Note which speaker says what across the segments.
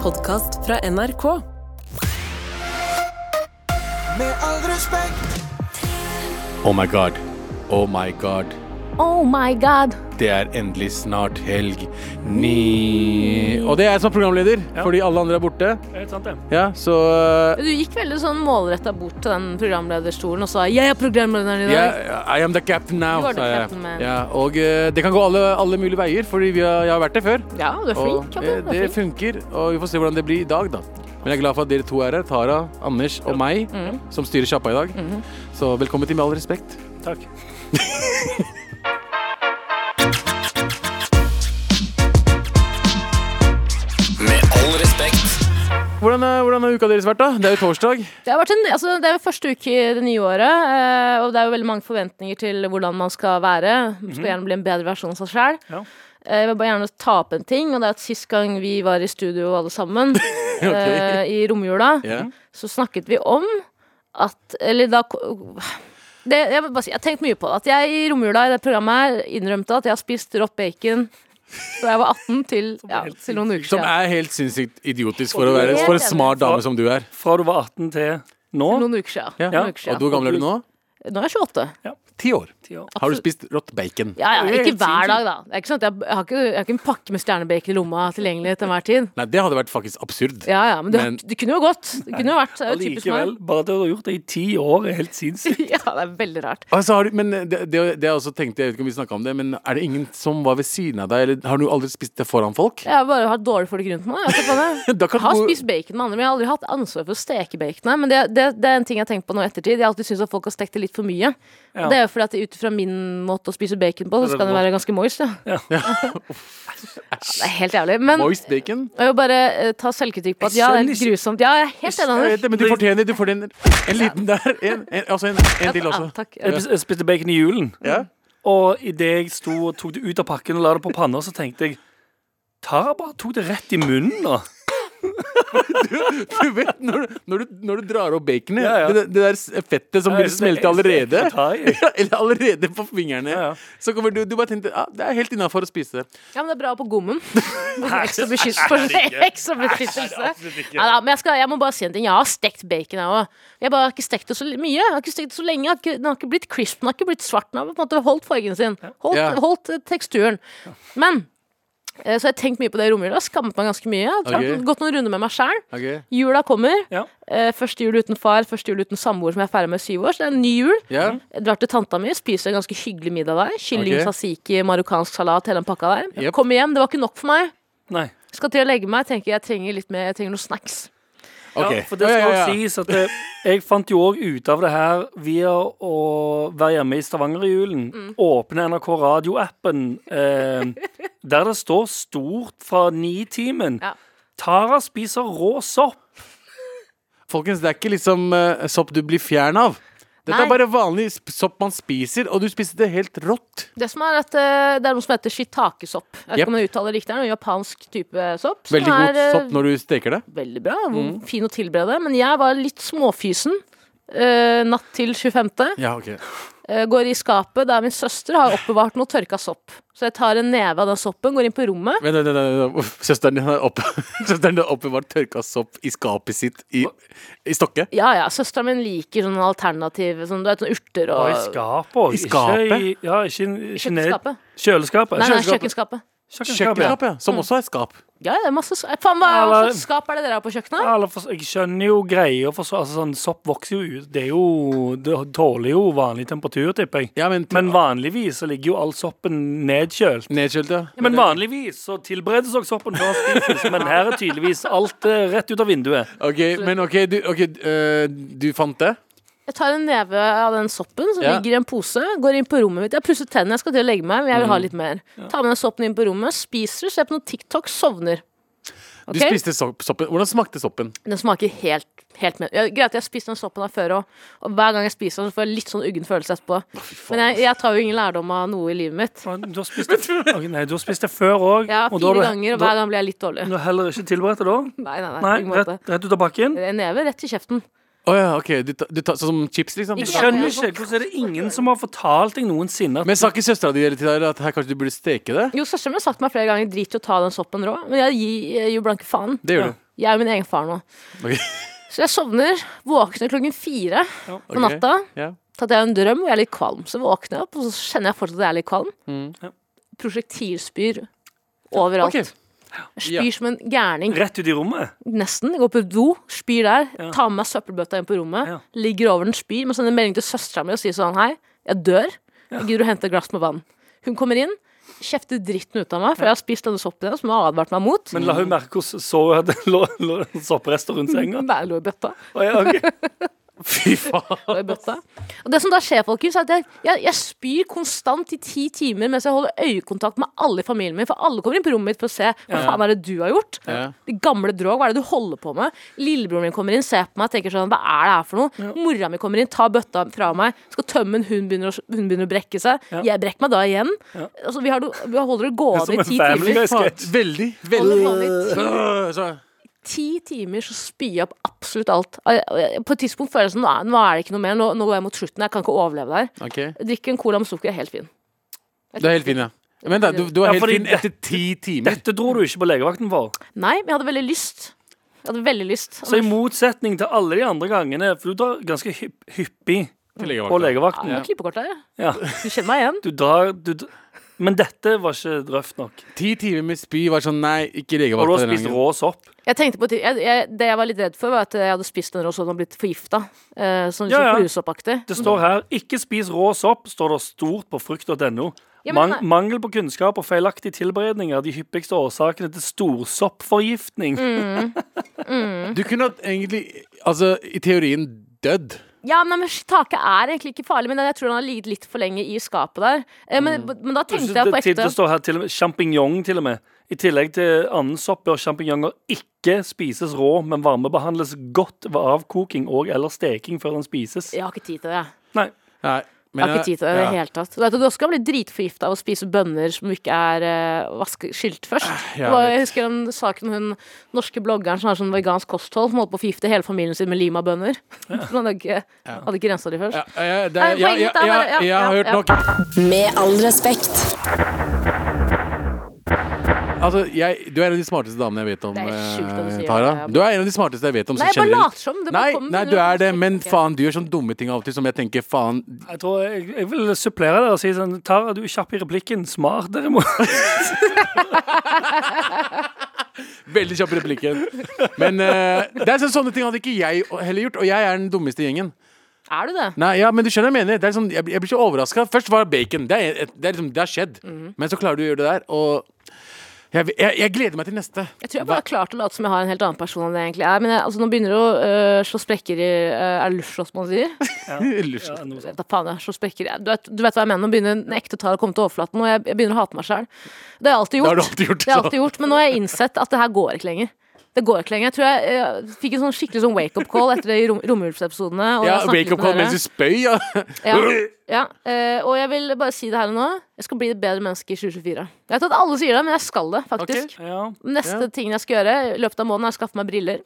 Speaker 1: podkast fra NRK.
Speaker 2: Med all respekt,
Speaker 3: Oh my god. Oh my god.
Speaker 4: Oh my god!
Speaker 3: Det er endelig snart helg. Ni Og det er jeg som programleder, fordi alle andre er borte.
Speaker 5: Helt sant, det.
Speaker 3: Ja, så
Speaker 4: Du gikk veldig sånn målretta bort til den programlederstolen og sa 'jeg er programlederen i dag'.
Speaker 3: yeah, I am the captain now,
Speaker 4: Du var the
Speaker 3: sa jeg.
Speaker 4: captain, man.
Speaker 3: Ja, og eh, det kan gå alle, alle mulige veier, fordi vi har, jeg har vært der før.
Speaker 4: Ja, du er flink.
Speaker 3: Og
Speaker 4: Kapten.
Speaker 3: eh,
Speaker 4: Du
Speaker 3: det
Speaker 4: er flink.
Speaker 3: funker, og vi får se hvordan det blir i dag, da. Men jeg er glad for at dere to er her, Tara, Anders og meg, som styrer sjappa i dag. Så velkommen til Med all respekt.
Speaker 5: Takk.
Speaker 3: Hvordan, er- hvordan har uka deres vært, da? Det er jo torsdag.
Speaker 4: Det, har vært en, altså, det er jo første uke i det nye året, eh, og det er jo veldig mange forventninger til hvordan man skal være. Man
Speaker 3: Mhm.
Speaker 4: skal gjerne bli en bedre versjon av seg sjæl.
Speaker 5: Ja.
Speaker 4: Jeg vil bare gjerne ta opp en ting, og det er at sist gang vi var i studio alle sammen, eh, i romjula,
Speaker 3: Ja.
Speaker 4: så snakket vi om at Eller da ko- det, Jeg vil bare si, jeg har tenkt mye på det. At jeg i romjula i det programmet her innrømte at jeg har spist rått bacon fra jeg var 18 til, ja, til noen uker
Speaker 3: Som
Speaker 4: siden.
Speaker 3: er helt sinnssykt idiotisk for, å være, for en smart dame som du er.
Speaker 5: Fra du var 18 til nå,
Speaker 4: Noen uker siden.
Speaker 3: Ja.
Speaker 4: Noen uker
Speaker 3: Og hvor
Speaker 4: siden.
Speaker 3: gammel er du nå?
Speaker 4: Nå er jeg 28.
Speaker 3: Ti år.
Speaker 5: ti år.
Speaker 3: Har du spist rått bacon?
Speaker 4: Ja, ja,
Speaker 5: Det er
Speaker 4: ikke
Speaker 5: helt
Speaker 4: hver
Speaker 5: sinnssykt.
Speaker 4: dag, da. Det er ikke sånn at jeg, jeg, har ikke, jeg har ikke en pakke med stjernebacon i lomma tilgjengelig til enhver tid.
Speaker 3: Nei, det hadde vært faktisk absurd.
Speaker 4: Ja, ja, men det,
Speaker 3: Men-
Speaker 4: det kunne jo gått. Det kunne jo vært det er jo typisk
Speaker 5: Allikevel,
Speaker 4: meg.
Speaker 5: bare det du har gjort det i ti år, er helt sinnssykt.
Speaker 4: Ja, det er veldig rart.
Speaker 3: Altså, har du, men det, det, det jeg også tenkte, jeg vet ikke om vi snakket om det, men er det ingen som var ved siden av deg, eller har du aldri spist det foran folk?
Speaker 4: Jeg har bare hatt dårlig folk rundt meg. Jeg vet ikke hva det er.
Speaker 3: Da kan
Speaker 4: Jeg har
Speaker 3: du-
Speaker 4: spist bacon med andre, men jeg har aldri hatt ansvar for å steke baconet. Men det, det, det er en ting jeg har tenkt på nå i ettertid. Jeg har alltid syntes at folk har stekt det litt for mye. Og
Speaker 5: Ja.
Speaker 4: Det er jo fordi at ut fra min måte å spise bacon på, så skal den være ganske moist. Ja.
Speaker 5: Ja.
Speaker 4: Det er helt jævlig. Men
Speaker 3: Moist bacon?
Speaker 4: jeg vil bare eh, ta selvkritikk på at
Speaker 5: Jeg
Speaker 4: ja, det er
Speaker 5: skjønner
Speaker 4: helt
Speaker 5: ikke-
Speaker 4: grusomt. Ja, jeg er helt enig.
Speaker 3: Jeg
Speaker 4: Anders.
Speaker 3: vet det, Eh, men du fortjener, du fortjener en liten der, en, en, altså en, en til
Speaker 4: Ja,
Speaker 3: også.
Speaker 4: takk. Ja.
Speaker 5: Jeg jeg spiste bacon i julen,
Speaker 3: Ja?
Speaker 5: og idet jeg sto og tok det ut av pakken og la det på panna, så tenkte jeg Tara bare tok det rett i munnen nå.
Speaker 3: Du vet, når, du- når, du, når du drar opp baconet,
Speaker 5: Ja, ja.
Speaker 3: det, det der s- fettet som begynner å smelte allerede,
Speaker 5: Jeg tar i.
Speaker 3: Ja, eller allerede på fingrene,
Speaker 5: Ja, ja.
Speaker 3: så kommer du, du bare tenkte, ah, det er helt innenfor å spise det.
Speaker 4: Ja, men det er bra på gommen. Ekstra beskyttelse. For ekstra beskyttelse. Ja, da, men jeg, skal, jeg må bare si en ting. Jeg har stekt bacon, jeg òg. Jeg bare har ikke stekt det så mye. Jeg har ikke stekt det så lenge. Jeg har ikke, den har ikke blitt crisp. Den har ikke blitt svart. Den har på en måte holdt fargen sin. Holdt,
Speaker 3: Ja.
Speaker 4: holdt eh, teksturen. Men eh, så har jeg tenkt mye på det i romjula. Skammet meg ganske mye. Jeg har tatt-
Speaker 3: Ok.
Speaker 4: Gått noen runder med meg sjæl.
Speaker 3: Ok.
Speaker 4: Jula kommer.
Speaker 5: Ja.
Speaker 4: Eh, Første jul uten far, første jul uten samboer som jeg er ferdig med i syv år. Så det er en ny jul.
Speaker 3: Ja?
Speaker 4: Jeg drar til tanta mi, spiser en ganske hyggelig middag der. Kylling,
Speaker 3: Ok.
Speaker 4: tzatziki, marokkansk salat, hele den pakka der.
Speaker 3: Jep.
Speaker 4: Kommer hjem, det var ikke nok for meg.
Speaker 5: Nei.
Speaker 4: Skal til å legge meg, tenker jeg trenger litt mer, jeg trenger noe snacks.
Speaker 3: Ok.
Speaker 5: Ja, for det skal
Speaker 3: Ja, ja, ja.
Speaker 5: sies at det, jeg fant jo òg ut av det her via å være hjemme i Stavanger i julen.
Speaker 4: Mm.
Speaker 5: Åpne NRK radioappen, eh, der det står stort fra Nitimen.
Speaker 4: Ja.
Speaker 5: Tara spiser rå sopp.
Speaker 3: Folkens, det er ikke liksom eh, sopp du blir fjern av. Dette
Speaker 4: Nei.
Speaker 3: er bare vanlig sp- sopp man spiser, og du spiste det helt rått.
Speaker 4: Det som er at eh, det er noe som heter shiitakesopp. Jeg vet
Speaker 3: Jep.
Speaker 4: ikke om jeg uttaler det riktig, det er en japansk type sopp. som
Speaker 3: Veldig
Speaker 4: er,
Speaker 3: god
Speaker 4: eh,
Speaker 3: sopp Mm. når du steker det.
Speaker 4: Veldig bra, hvor fin å tilberede. Men jeg var litt småfysen. eh, natt til 25.
Speaker 3: Ja, ok.
Speaker 4: Eh, går i skapet der min søster har oppbevart noe tørka sopp. Så jeg tar en neve av den soppen, går inn på rommet.
Speaker 3: Vent, vent, vent, vent. vent. Søsteren din har opp- søsteren din har oppbevart tørka sopp i skapet sitt i, i stokket.
Speaker 4: Ja ja, søstera min liker sånn alternativ, sånn, du vet, sånn urter
Speaker 5: Og
Speaker 4: og
Speaker 5: i skapet òg.
Speaker 3: I skapet?
Speaker 5: Ikke i ja, ikke, i- ikke ned-
Speaker 4: Kjøkkenskapet. Nei,
Speaker 5: Kjøleskapet.
Speaker 4: nei,
Speaker 5: Kjøleskapet.
Speaker 4: kjøkkenskapet.
Speaker 5: Kjøkkenskapet, ja.
Speaker 3: Kjøkkenskap, ja. Mm. Som også er et skap.
Speaker 4: Ja, ja, det er masse skap. Faen, hva hva
Speaker 5: Eller-
Speaker 4: slags skap er det dere har på kjøkkenet?
Speaker 5: Ja, eller for, jeg skjønner jo greia, for så, altså, sånn, sopp vokser jo ut. Det, er jo, det tåler jo vanlig temperatur, tipper jeg.
Speaker 3: Ja, men,
Speaker 5: Men vanligvis så ligger jo all soppen nedkjølt.
Speaker 3: nedkjølt, ja.
Speaker 5: Men vanligvis så tilberedes også soppen før den spises, men her er tydeligvis alt eh, rett ut av vinduet.
Speaker 3: Ok, men ok, du, ok, eh, du fant det?
Speaker 4: Jeg tar en neve av den soppen som
Speaker 3: Ja.
Speaker 4: ligger i en pose, går inn på rommet mitt. Jeg pusser tennene, jeg skal til å legge meg, men jeg vil ha litt mer. Tar med den soppen inn på rommet, spiser, ser på noe TikTok, sovner.
Speaker 3: Du
Speaker 4: Ok?
Speaker 3: spiste sopp, soppen. Hvordan smakte soppen?
Speaker 4: Den smaker helt, helt med. Ja, greit, jeg har spist den soppen her før òg, og hver gang jeg spiser den, så får jeg litt sånn uggen følelse etterpå. Men jeg, jeg tar jo ingen lærdom av noe i livet mitt.
Speaker 5: Og Du har spist det, Ok, nei, du har spist det før òg.
Speaker 4: Ja, fire ganger, og hver gang blir jeg litt dårlig.
Speaker 5: Du har heller ikke tilberedt det da?
Speaker 4: Nei, nei, nei.
Speaker 5: Nei,
Speaker 4: på ingen måte.
Speaker 5: rett, rett ut av bakken?
Speaker 4: Det er Neve rett i kjeften.
Speaker 3: Å ja, ok, du, ta, du tar sånn som chips, liksom?
Speaker 4: Ikke
Speaker 5: Jeg skjønner ikke. Hvordan er det ingen som har fortalt deg noensinne at
Speaker 3: Men sa ikke søstera di hele tida at her kanskje du burde steke det?
Speaker 4: Jo, søsteren min har sagt meg flere ganger drit i å ta den soppen rå, men jeg gir jeg gir jo blanke faen.
Speaker 3: Det gjør du.
Speaker 4: Jeg er min egen far nå.
Speaker 3: Ok.
Speaker 4: Så jeg sovner, våkner klokken fire på
Speaker 3: Ok.
Speaker 4: natta.
Speaker 3: Ja.
Speaker 4: Tatt jeg en drøm hvor jeg er litt kvalm. Så våkner jeg opp, og så kjenner jeg fortsatt at jeg er litt kvalm.
Speaker 5: Ja.
Speaker 4: Prosjektilspyr overalt.
Speaker 3: Mm. Ok.
Speaker 4: Jeg Spyr som en gærning.
Speaker 5: Rett ut i rommet.
Speaker 4: Nesten. Jeg går på do, spyr der, tar med meg søppelbøtta inn på rommet,
Speaker 5: Ja.
Speaker 4: ligger over den, spyr, men sender en melding til søstera mi og sier sånn Hei, jeg dør. Jeg gidder du hente et glass med vann? Hun kommer inn, kjefter dritten ut av meg, for jeg har spist denne soppen hennes som hun har advart meg mot.
Speaker 5: Men la hun merke hvordan så hun at det lå, lå sopprester rundt senga?
Speaker 4: Nei, jeg lå i bøtta.
Speaker 5: Å, ja, ok.
Speaker 3: Fy faen.
Speaker 4: Jeg lå i bøtta. Og det som da skjer, folkens, er at jeg, jeg, jeg spyr konstant i ti timer mens jeg holder øyekontakt med alle i familien min, for alle kommer inn på rommet mitt for å se hva faen er det du har gjort.
Speaker 3: Ja.
Speaker 4: De gamle drog, hva er det du holder på med? Lillebroren min kommer inn, ser på meg og tenker sånn, hva er det her for noe? Mora mi kommer inn, tar bøtta fra meg, skal tømme den, hun begynner å, hun begynner å brekke seg. Jeg brekker meg da igjen. Altså, vi, har, no- vi holder det
Speaker 5: Som
Speaker 4: gående i
Speaker 5: en
Speaker 4: ti
Speaker 5: Family
Speaker 4: timer.
Speaker 5: Guy-sketsj.
Speaker 3: Veldig.
Speaker 4: Holder
Speaker 3: Veldig.
Speaker 4: det gående i ti
Speaker 3: Øh, så-
Speaker 4: ti timer så spyr jeg opp absolutt alt. Og jeg- og jeg- På et tidspunkt føler jeg sånn, nå er, nå er det ikke noe mer, nå, nå går jeg mot slutten, jeg kan ikke overleve det her.
Speaker 3: Ok.
Speaker 4: Drikke en cola med sukker er helt fin.
Speaker 3: Du er helt fin, ja. Men da, du, du
Speaker 5: Ja,
Speaker 3: er helt
Speaker 5: fordi
Speaker 3: fin etter ti timer.
Speaker 5: Dette dro du ikke på legevakten for.
Speaker 4: Nei, men jeg hadde veldig lyst. Jeg hadde veldig lyst.
Speaker 5: Så i motsetning til alle de andre gangene, for du drar ganske hypp, hyppig
Speaker 3: Til
Speaker 5: på
Speaker 3: legevakta.
Speaker 5: legevakten.
Speaker 4: Ja, Klippekort her.
Speaker 5: Ja.
Speaker 4: Du kjenner meg igjen.
Speaker 5: Du drar du, dr- Men dette var ikke røft nok.
Speaker 3: Ti timer med spy var sånn Nei, ikke
Speaker 5: Og du har
Speaker 3: legevakta. denne
Speaker 5: spist
Speaker 3: gangen.
Speaker 5: rå sopp.
Speaker 4: Jeg tenkte på et tid- jeg, jeg, Det jeg var litt redd for, var at jeg hadde spist den rå sånn og blitt forgifta. Eh, sånn
Speaker 5: Ja, ja.
Speaker 4: sånn fluesoppaktig.
Speaker 5: Det står her 'ikke spis rå sopp', står det stort på frukt.no.
Speaker 4: Ja, men
Speaker 5: Mang,
Speaker 4: nei.
Speaker 5: mangel på kunnskap og feilaktige tilberedninger er de hyppigste årsakene til storsoppforgiftning.
Speaker 4: Mm,
Speaker 3: Du kunne hatt egentlig Altså, i teorien dødd.
Speaker 4: Ja, men, nei, men Take er egentlig ikke farlig, men jeg tror han har ligget litt for lenge i skapet der. Eh, men, men da
Speaker 5: Så
Speaker 4: tenkte jeg
Speaker 5: det,
Speaker 4: på
Speaker 5: til, det
Speaker 4: ekte
Speaker 5: står her til og med sjampinjong, til og med. I tillegg til annen sopp bør sjampinjonger ikke spises rå, men varmebehandles godt ved avkoking og eller steking før den spises.
Speaker 4: Jeg har ikke tid til det. jeg.
Speaker 5: Nei.
Speaker 3: Nei. Men, eh,
Speaker 4: Jeg har ikke tid til det i
Speaker 3: ja.
Speaker 4: det hele tatt. Du vet at du også kan bli dritforgifta av å spise bønner som ikke er eh, vaske, skylt først.
Speaker 3: jeg
Speaker 4: Det var, jeg
Speaker 3: vet.
Speaker 4: husker den saken om hun norske bloggeren som har sånn vegansk kosthold, som holdt på å forgifte hele familien sin med limabønner. Hun hadde ikke, hadde ikke rensa de først.
Speaker 3: Ja, ja, det,
Speaker 4: Nei,
Speaker 3: ja, ja,
Speaker 4: poenget er bare- ja,
Speaker 3: ja, jeg har
Speaker 4: ja,
Speaker 3: hørt
Speaker 4: ja.
Speaker 3: nok.
Speaker 1: Med all respekt.
Speaker 3: Altså, jeg, du er en av de smarteste damene jeg vet om,
Speaker 4: Det er sjukt at du
Speaker 3: eh,
Speaker 4: sier
Speaker 3: Tara.
Speaker 4: det.
Speaker 3: Du er en av de smarteste jeg vet om. som
Speaker 4: Nei, jeg bare
Speaker 3: generelt-
Speaker 4: later som. Det bare
Speaker 3: Nei,
Speaker 4: kom-
Speaker 3: nei, du er det, men
Speaker 4: Ok.
Speaker 3: faen, du gjør sånne dumme ting av og til som jeg tenker faen
Speaker 5: Jeg tror jeg, jeg vil supplere dere og si sånn Tara, du er kjapp i replikken. Smart, derimot.
Speaker 3: Veldig kjapp i replikken. Men eh, det er sånn- sånne ting hadde ikke jeg heller gjort, og jeg er den dummeste i gjengen.
Speaker 4: Er du det?
Speaker 3: Nei, ja, men du skjønner hva jeg mener. Det er sånn, jeg, blir- jeg blir ikke overraska. Først var det bacon. Det, er, et- det, er liksom, det har skjedd.
Speaker 4: Mhm.
Speaker 3: Men så klarer du å gjøre det der, og jeg, jeg, jeg gleder meg til neste.
Speaker 4: Jeg tror jeg bare har klart å late som jeg har en helt annen person enn det jeg egentlig er. Men jeg, altså, nå begynner det å øh, slå sprekker i øh, Er det luftslåss man sier?
Speaker 3: Ellers-
Speaker 5: Ja, noe sånt.
Speaker 4: Da faen, jeg slår sprekker i du, vet- du vet hva jeg mener? Nå begynner den ekte tar å komme til overflaten, og jeg, jeg begynner å hate meg sjøl. Det har jeg alltid
Speaker 3: Det sånn. har
Speaker 4: gjort.
Speaker 3: du alltid gjort,
Speaker 4: Det har
Speaker 3: så.
Speaker 4: jeg alltid gjort men nå har jeg innsett at det her går ikke lenger. Det går ikke lenger. Jeg tror jeg, eh, fikk en sånn skikkelig sånn wake-up call etter det i rom, Romulfsepisodene. og
Speaker 3: Ja,
Speaker 4: jeg snakket litt
Speaker 3: wake up
Speaker 4: med
Speaker 3: call
Speaker 4: dere.
Speaker 3: mens du spøy. Ja.
Speaker 4: Ja, ja. eh, og jeg vil bare si det her og nå. Jeg skal bli et bedre menneske i 2024. Jeg vet at alle sier det, men jeg skal det, faktisk.
Speaker 5: Ja.
Speaker 4: Neste ting jeg skal gjøre i løpet av måneden, er å skaffe meg briller.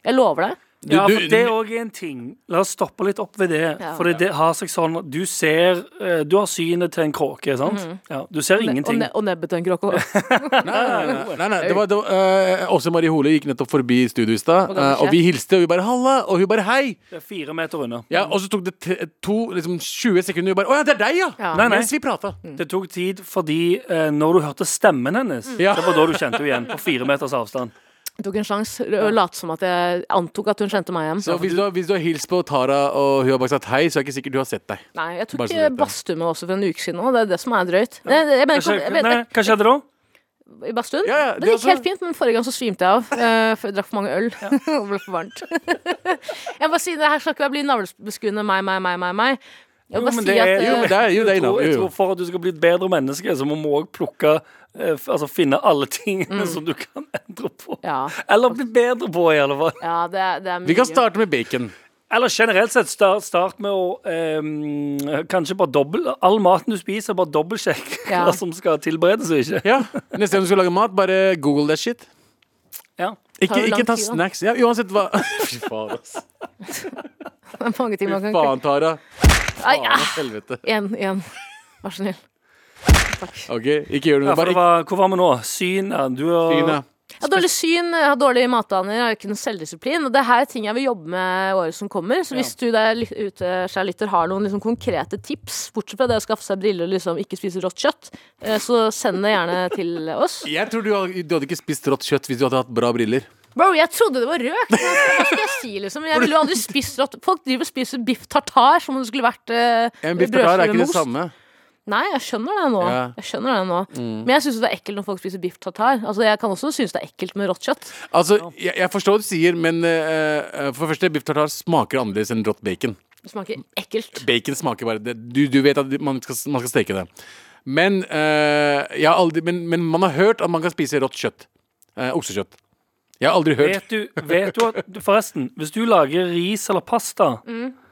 Speaker 4: Jeg lover det.
Speaker 3: Du-
Speaker 5: ja,
Speaker 3: du-
Speaker 5: for det òg er en ting. La oss stoppe litt opp ved det.
Speaker 4: Ja.
Speaker 5: For det har seg sånn at du ser eh, Du har synet til en kråke, sant? Ja, du ser
Speaker 4: Mhm. Og,
Speaker 5: ingenting.
Speaker 4: ne og nebbet til en kråke. også.
Speaker 3: Nei, nei, nei, nei, det var, det var, eh, Åse Marie Hole gikk nettopp forbi studio i stad,
Speaker 4: Hva kan det
Speaker 3: eh, og
Speaker 4: skje?
Speaker 3: vi hilste, og vi bare 'halla', og hun bare 'hei'.
Speaker 5: Det er fire meter unna.
Speaker 3: Ja, og så tok det t to, liksom 20 sekunder, og vi bare 'å ja, det er deg', ja.
Speaker 4: Ja.
Speaker 5: Nei, nei.
Speaker 3: Mens vi prata.
Speaker 5: Det tok tid fordi eh, når du hørte stemmen hennes,
Speaker 4: Mm.
Speaker 3: Ja.
Speaker 5: det var da du kjente henne igjen. På fire meters avstand.
Speaker 4: Jeg tok en sjanse og lot som at jeg antok at hun kjente meg igjen.
Speaker 3: Så hvis du, har- hvis du har hilst på Tara, og hun har bare sagt hei, så er det ikke sikkert du har sett deg.
Speaker 4: Nei, jeg
Speaker 3: Bare
Speaker 4: tok
Speaker 3: så du vet det.
Speaker 4: badstue også for en uke siden, og det er det som er drøyt. Nei, det- jeg mener,
Speaker 5: Kanskje,
Speaker 4: ikke- jeg vet,
Speaker 5: nei, hva skjedde da?
Speaker 4: I badstuen?
Speaker 3: Ja, ja,
Speaker 4: det,
Speaker 3: det
Speaker 4: gikk
Speaker 3: også-
Speaker 4: helt fint, men forrige gang så svimte jeg av. eh, for jeg drakk for mange øl. og ble for varmt. jeg må bare si, det her skal ikke bli navlebeskuende meg, meg, meg, meg. meg. Jeg må bare
Speaker 5: men
Speaker 4: si
Speaker 5: det
Speaker 4: at
Speaker 5: er-
Speaker 4: eh,
Speaker 3: Jo, men det er jo det
Speaker 5: Jeg tror,
Speaker 3: innafor.
Speaker 5: jeg
Speaker 3: Jo,
Speaker 5: tror
Speaker 3: jo.
Speaker 5: For at du skal bli et bedre menneske, så må vi òg plukke eh, f- Altså finne alle tingene som du kan endre på.
Speaker 4: Mm. Ja.
Speaker 5: Eller bli bedre på, i alle fall.
Speaker 4: ja, det, er- det er mye.
Speaker 3: Vi kan starte med bacon.
Speaker 5: Eller generelt sett, start, start med å eh, Kanskje bare dobbel All maten du spiser, bare dobbeltsjekk
Speaker 4: Ja.
Speaker 5: hva som skal tilberedes og ikke.
Speaker 3: Ja, Neste gang du skal lage mat, bare google that shit.
Speaker 5: Ja.
Speaker 3: Ikke,
Speaker 4: Tar jo lang
Speaker 3: ikke ta
Speaker 4: tid, da.
Speaker 3: snacks. Ja, uansett hva Fy faen, ass.
Speaker 4: Det er mange ting man
Speaker 3: Fy
Speaker 4: kan
Speaker 3: faen, Tara.
Speaker 4: Ai, ah.
Speaker 3: Faen,
Speaker 4: ja.
Speaker 3: helvete.
Speaker 4: En, en. Vær så snill. Takk.
Speaker 3: OK, ikke gjør
Speaker 5: Ja,
Speaker 3: noe.
Speaker 5: for
Speaker 3: Bare
Speaker 5: det
Speaker 3: ikke
Speaker 5: var, hvor var vi nå? Syn, ja. Du har
Speaker 3: Synet.
Speaker 4: Jeg har dårlig syn, jeg har dårlige matvaner, jeg har ikke noen selvdisiplin. Og det her er ting jeg vil jobbe med i året som kommer. Så hvis du der lyt- ute kjære lytter, har noen liksom konkrete tips, bortsett fra det å skaffe seg briller og liksom ikke spise rått kjøtt, eh, så send det gjerne til oss.
Speaker 3: Jeg tror du hadde, du hadde ikke spist rått kjøtt hvis du hadde hatt bra briller.
Speaker 4: Bro, jeg trodde det var røkt! men Hva skal jeg si, liksom? Jeg ville jo aldri spist rått Folk driver og spiser biff tartar som om det skulle vært eh,
Speaker 3: En biff tartar er
Speaker 4: brødskive
Speaker 3: ikke
Speaker 4: med
Speaker 3: det
Speaker 4: ost.
Speaker 3: samme.
Speaker 4: Nei, jeg skjønner det nå.
Speaker 3: Ja. Mm.
Speaker 4: Jeg skjønner det nå. Men jeg syns det er ekkelt når folk spiser biff tartar. Altså, jeg kan også synes det er ekkelt med rått kjøtt.
Speaker 3: Altså, jeg, jeg forstår hva du sier, men eh, eh, for det første, biff tartar smaker annerledes enn rått bacon.
Speaker 4: Det smaker ekkelt.
Speaker 3: Bacon smaker bare det. Du, du vet at man skal, man skal steke det. Men, eh, jeg har aldri, men, men man har hørt at man kan spise rått kjøtt. Eh, oksekjøtt. Jeg har aldri hørt
Speaker 5: Vet du, vet du at Forresten, hvis du lager ris eller pasta,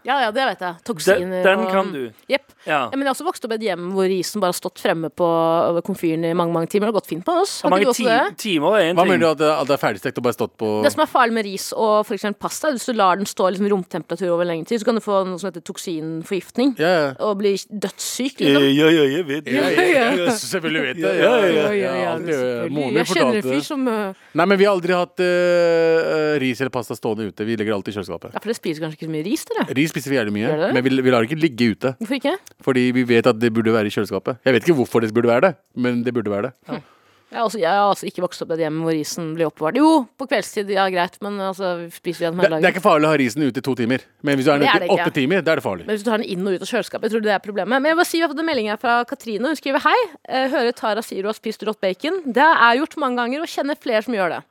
Speaker 4: Ja, ja, det vet jeg.
Speaker 5: den,
Speaker 4: Toksiner
Speaker 5: den
Speaker 4: Mm. og-
Speaker 5: kan du.
Speaker 4: Jepp.
Speaker 5: Ja.
Speaker 4: Ja, Men jeg har også vokst opp i et hjem hvor risen bare har stått fremme på over komfyren i mange mange timer. Det har gått fint på oss.
Speaker 5: Hvor
Speaker 4: Har ikke du
Speaker 5: mange
Speaker 4: også det?
Speaker 5: ti timer er én
Speaker 3: Hva mener
Speaker 5: ting.
Speaker 3: du at det, at det er ferdigstekt og bare stått på
Speaker 4: Det som er farlig med ris og for eksempel pasta, er hvis du lar den stå i liksom, romtemperatur over lengre tid, så kan du få noe som heter toksinforgiftning.
Speaker 3: Ja, ja.
Speaker 4: Og bli dødssyk. Liksom.
Speaker 5: jeg vet
Speaker 3: Ja, ja, ja, Selvfølgelig vet jeg. Eh, Ja, ja, ja, alltid, ja. Moren min
Speaker 4: jeg kjenner
Speaker 3: fortalte
Speaker 4: en fyr
Speaker 3: det.
Speaker 4: som øh,
Speaker 3: Nei, men vi har aldri hatt eh, eh, ris eller pasta stående ute. Vi legger alltid i kjøleskapet.
Speaker 4: Ja, for dere spiser kanskje ikke så mye ris, dere?
Speaker 3: Ris spiser vi jævlig mye,
Speaker 4: Gjør dere?
Speaker 3: men vi, vi lar det ikke ligge ute.
Speaker 4: Hvorfor ikke?
Speaker 3: Fordi vi vet at det burde være i kjøleskapet. Jeg vet ikke hvorfor det burde være det, men det burde være det.
Speaker 4: Jeg har, også, jeg har altså ikke vokst opp i et hjem hvor risen blir oppbevart. Jo, på kveldstid, ja greit, men altså, vi spiser jo gjennom
Speaker 3: Det,
Speaker 4: hele
Speaker 3: det
Speaker 4: dagen.
Speaker 3: er ikke farlig å ha risen ute i to timer, men hvis du er
Speaker 4: Det
Speaker 3: nødt
Speaker 4: er det
Speaker 3: til åtte
Speaker 4: ikke.
Speaker 3: timer, da er det farlig.
Speaker 4: Men hvis du tar den inn og ut av kjøleskapet, jeg tror det er problemet. Men jeg vil bare si, vi har fått en melding her fra Katrine. Hun skriver hei. eh, Hører Tara sier hun har spist rått bacon. Det har jeg gjort mange ganger, og kjenner flere som gjør det.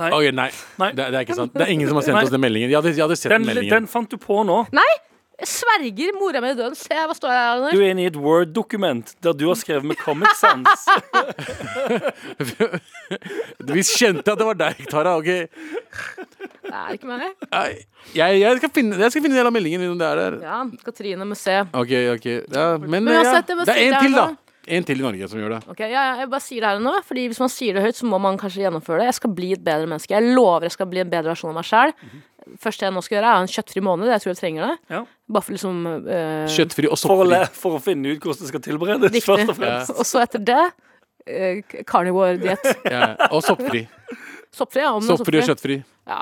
Speaker 3: Ok, nei,
Speaker 5: Nei.
Speaker 3: Det, det er ikke sant. Det er ingen som har sendt
Speaker 5: Nei.
Speaker 3: oss den meldingen. Jeg hadde, jeg hadde sett den,
Speaker 5: Den,
Speaker 3: meldingen.
Speaker 5: den fant du på nå.
Speaker 4: Jeg sverger mora mi i døden. Se, hva står jeg her
Speaker 5: Du
Speaker 4: under?
Speaker 5: er inne i et Word-dokument der du har skrevet med Comic Sans.
Speaker 3: Vi kjente at det var deg, Tara. ok?
Speaker 4: Det er ikke meg.
Speaker 3: Nei, Jeg, jeg, skal finne, jeg skal finne en del av meldingen om det er der.
Speaker 4: Ja, Katrine må se.
Speaker 3: Ok, ok. Ja, men
Speaker 4: Men
Speaker 3: ja,
Speaker 4: uansett, det var
Speaker 3: det er
Speaker 4: sikkert
Speaker 3: en
Speaker 4: her
Speaker 3: til, da.
Speaker 4: nå.
Speaker 3: En til i Norge som gjør det.
Speaker 4: Ok, ja, ja, Jeg bare sier det her nå, Fordi hvis man sier det høyt, så må man kanskje gjennomføre det. Jeg skal bli et bedre menneske. Jeg lover jeg skal bli en bedre versjon av meg sjæl. Første jeg nå skal gjøre, er en kjøttfri måned. Jeg tror jeg trenger det.
Speaker 5: Ja.
Speaker 4: Bare for liksom eh,
Speaker 3: Kjøttfri og
Speaker 5: For å,
Speaker 3: soppfri.
Speaker 5: le, for å finne ut hvordan det skal tilberedes.
Speaker 4: Riktig.
Speaker 5: Først og fremst.
Speaker 4: Og så etter det eh, k- carnivore-diett.
Speaker 3: Ja, og soppfri.
Speaker 4: Soppfri, ja. Om det er
Speaker 3: Soppfri og kjøttfri.
Speaker 4: Ja.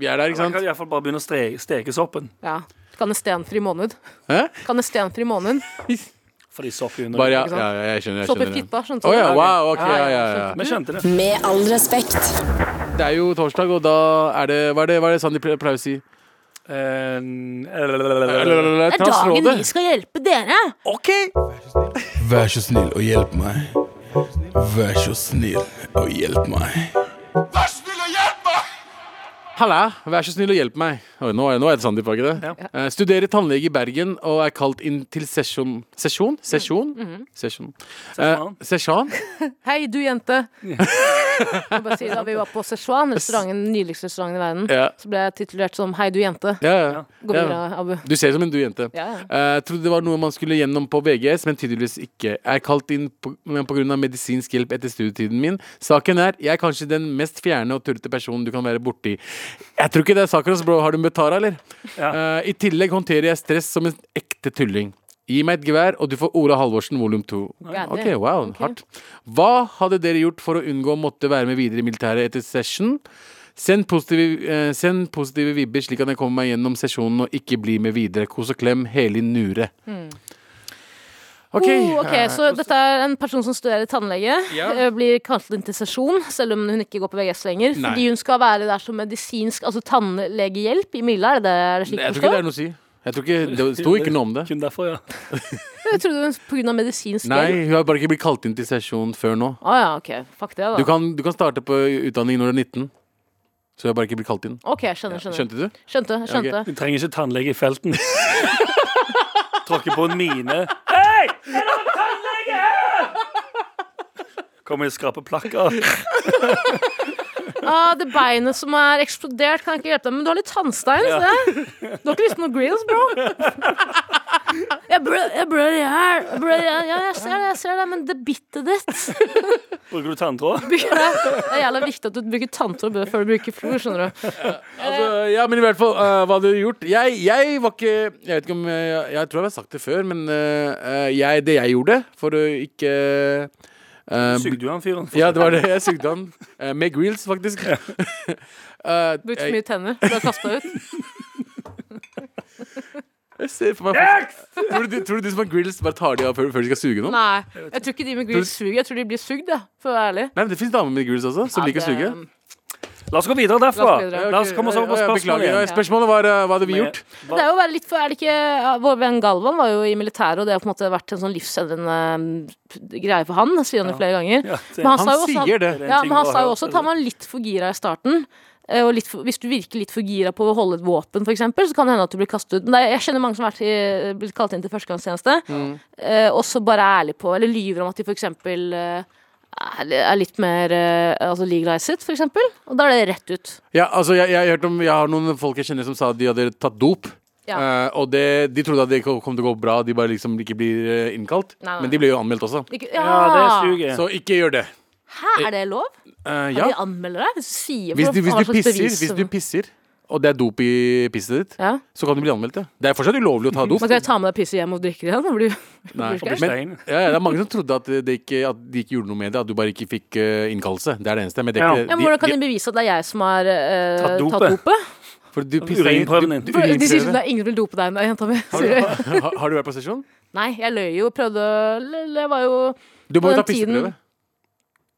Speaker 3: Vi er der, ikke
Speaker 5: Man kan
Speaker 3: sant?
Speaker 5: i hvert fall bare begynne å stre steke soppen.
Speaker 4: ja. Kan en stenfri måned.
Speaker 3: Hæ?
Speaker 4: Kan en stenfri måned.
Speaker 5: Fordi sopp er under.
Speaker 3: Bare, ja,
Speaker 4: Ikke sant?
Speaker 3: ja, ja, jeg skjønner. jeg
Speaker 4: Sopp i sånn
Speaker 3: skjønner det.
Speaker 4: fitta, skjønte
Speaker 3: Å ja,
Speaker 4: du?
Speaker 3: wow, ok, ja, ja, ja.
Speaker 5: Vi skjønte det.
Speaker 1: Med all respekt.
Speaker 3: Det er jo torsdag, og da er det Hva er det, hva er det Sandeep pleier å si?
Speaker 5: Eh,
Speaker 4: Det er dagen vi skal hjelpe dere!
Speaker 3: OK!
Speaker 6: Vær så snill og hjelp meg. Vær så snill og hjelp meg.
Speaker 3: Halla, vær så snill og hjelp meg. Oi, nå, er, nå er det Sandeep, var ikke det?
Speaker 5: Ja.
Speaker 3: Eh, studerer tannlege i Bergen og er kalt inn til sesjon Sesjon? Sesjon? Sesjon. Eh, Mm, mhm. sesjon?
Speaker 4: Hei, du jente. Jeg bare sier, da vi var på Szechuan, restauranten, den nydeligste restauranten i verden,
Speaker 3: Ja.
Speaker 4: så ble jeg titulert som Hei, du jente.
Speaker 3: Ja, ja.
Speaker 4: Gå
Speaker 3: Ja.
Speaker 4: videre, Abu.
Speaker 3: Du ser ut som en du jente.
Speaker 4: Ja, ja.
Speaker 3: Eh, trodde det var noe man skulle gjennom på VGS, men tydeligvis ikke. Jeg er kalt inn på- men pga. medisinsk hjelp etter studietiden min. Saken er jeg er kanskje den mest fjerne og tullete personen du kan være borti. Jeg tror ikke det er saken hans, bro. Har du møtt Tara, eller?
Speaker 5: Ja.
Speaker 3: Eh, I tillegg håndterer jeg stress som en ekte tulling. Gi meg et gevær, og du får Ola Halvorsen volum to.
Speaker 4: Gærlig.
Speaker 3: Ok, wow, hardt. Hva hadde dere gjort for å unngå å måtte være med videre i militæret etter session? Send positive, eh, send positive vibber slik at jeg kommer meg gjennom sesjonen og ikke blir med videre. Kos og klem, Helin Nure. Ok.
Speaker 4: Mm. Oh, ok, Så dette er en person som studerer tannlege.
Speaker 3: Ja.
Speaker 4: eh, Blir kalt inn til sesjon, selv om hun ikke går på VGS lenger.
Speaker 3: Nei.
Speaker 4: Fordi hun skal være der som medisinsk Altså tannlegehjelp i Milla. Er det det er det slik
Speaker 3: Jeg
Speaker 4: det
Speaker 3: tror ikke det
Speaker 4: står?
Speaker 3: er noe å si. Jeg tror ikke, det sto ikke noe om det.
Speaker 5: Kun derfor, ja.
Speaker 4: Jeg trodde hun pga. medisinsk hjelp.
Speaker 3: Nei, hun har bare ikke blitt kalt inn til sesjon før nå.
Speaker 4: Å ja, ok. Fuck det, da.
Speaker 3: Du kan, du kan starte på utdanning når du er 19. Så jeg har bare ikke blitt kalt inn.
Speaker 4: Ok, skjønner, skjønner.
Speaker 3: Skjønte du?
Speaker 4: Skjønte, skjønte.
Speaker 3: ok.
Speaker 5: Vi trenger ikke tannlege i felten. Tråkke på en mine. Hei! Er det en tannlege her? Kommer og skraper plakker.
Speaker 4: Ah, det beinet som er eksplodert, kan ikke hjelpe deg. Men du har litt tannstein. se. Du har ikke lyst på noe grills, bro? Jeg blør jeg blør i hjel. Jeg blør i hjel. Ja, jeg ser det, jeg ser det, men det bittet ditt
Speaker 5: Bruker du tanntråd?
Speaker 4: Det er jævla viktig at du bruker tanntråd før du bruker flor, skjønner du.
Speaker 3: Altså, ja, men i hvert fall, eh, hva hadde du gjort? Jeg, jeg var ikke Jeg vet ikke om eh, Jeg, jeg tror jeg har sagt det før, men eh, eh, jeg, det jeg gjorde for å ikke Eh,
Speaker 5: Sugde jo han fyren. for-
Speaker 3: ja, det var det. Jeg sugde han. Eh, med grills, faktisk. Eh,
Speaker 4: Brukt for
Speaker 3: jeg,
Speaker 4: mye tenner. Du har kasta ut.
Speaker 3: jeg ser for meg tror, du, de- tror du de som har grills, bare tar de av før, før de skal suge noen?
Speaker 4: Nei. Jeg tror ikke de med grill suger. Jeg tror de blir sugd, jeg, for å være ærlig.
Speaker 3: Nei, men Det fins damer med grills også, som liker å suge.
Speaker 5: La oss gå videre derfra.
Speaker 4: La oss gå videre.
Speaker 5: La oss komme oss over på
Speaker 3: Ja, ja,
Speaker 5: spørsmålet.
Speaker 3: Beklager.
Speaker 5: igjen.
Speaker 3: Spørsmålet var eh, hva hadde vi gjort?
Speaker 4: Det er jo å være litt for, er det ikke ja, Vår venn Galvan var jo i militæret, og det har på en måte vært en sånn livsendrende mm, greie for han, sier han jo flere ganger.
Speaker 5: Ja, det-
Speaker 4: Men han, sa
Speaker 3: Han
Speaker 4: jo også,
Speaker 3: sier det.
Speaker 5: Det er en
Speaker 4: Ja,
Speaker 5: ting
Speaker 4: men han
Speaker 5: å
Speaker 4: sa jo
Speaker 5: høre.
Speaker 4: også at han var litt for gira i starten. eh, Og litt for, hvis du virker litt for gira på å holde et våpen, for eksempel, så kan det hende at du blir kastet ut. Men det er- jeg kjenner mange som har vært i, blitt kalt inn til førstegangstjeneste,
Speaker 5: Mm.
Speaker 4: eh, og så bare er ærlig på, eller lyver om at de for eksempel eh, er er litt mer eh, altså legalized, for eksempel. Og da er det rett ut.
Speaker 3: Ja, altså jeg, jeg, har hørt om, jeg har noen folk jeg kjenner som sa at de hadde tatt dop.
Speaker 4: Ja.
Speaker 3: Eh, og det, de trodde at det kom til å gå bra, de bare liksom ikke blir eh, innkalt.
Speaker 4: Nei, nei.
Speaker 3: Men de ble jo anmeldt også.
Speaker 4: Ikke,
Speaker 5: Ja, det suger.
Speaker 3: Så ikke gjør det.
Speaker 4: Hæ, er det lov?
Speaker 3: Eh,
Speaker 4: Ja.
Speaker 3: ja.
Speaker 4: De anmelder deg? Sier
Speaker 3: Hvis, du, hvis,
Speaker 4: hva
Speaker 3: du
Speaker 4: slags
Speaker 3: pisser,
Speaker 4: bevis
Speaker 3: hvis
Speaker 4: som-
Speaker 3: du pisser, og det er dop i pisset ditt,
Speaker 4: ja.
Speaker 3: så kan du bli anmeldt. Ja. Det er fortsatt ulovlig å ta dop.
Speaker 4: Man kan jo ta med deg pisset hjem og drikke det igjen. da blir du-
Speaker 3: Nei.
Speaker 4: blir du ikke?
Speaker 5: bli stein.
Speaker 3: Men, ja, ja, det er mange som trodde at, det ikke, at de ikke gjorde noe med det, at du bare ikke fikk eh, innkallelse. Det er det eneste. Men det er
Speaker 5: Ja.
Speaker 3: ikke,
Speaker 4: Ja, men
Speaker 3: de-
Speaker 4: Hvordan kan
Speaker 3: de-
Speaker 4: de bevise at det er jeg som har eh,
Speaker 5: Tatt dopet.
Speaker 4: tatt dopet?
Speaker 3: for du pisser i-
Speaker 5: Urinprøven
Speaker 3: du- du-
Speaker 5: din.
Speaker 4: De
Speaker 3: urinprøven.
Speaker 4: sier sånn det er ingen vil dope deg, nei, jenta mi. sier de.
Speaker 3: Har, har du vært på sesjon?
Speaker 4: Nei, jeg løy jo. Prøvde å- Jeg var jo
Speaker 3: Du må
Speaker 4: På
Speaker 3: jo ta
Speaker 4: den tiden-
Speaker 3: pisseprøve.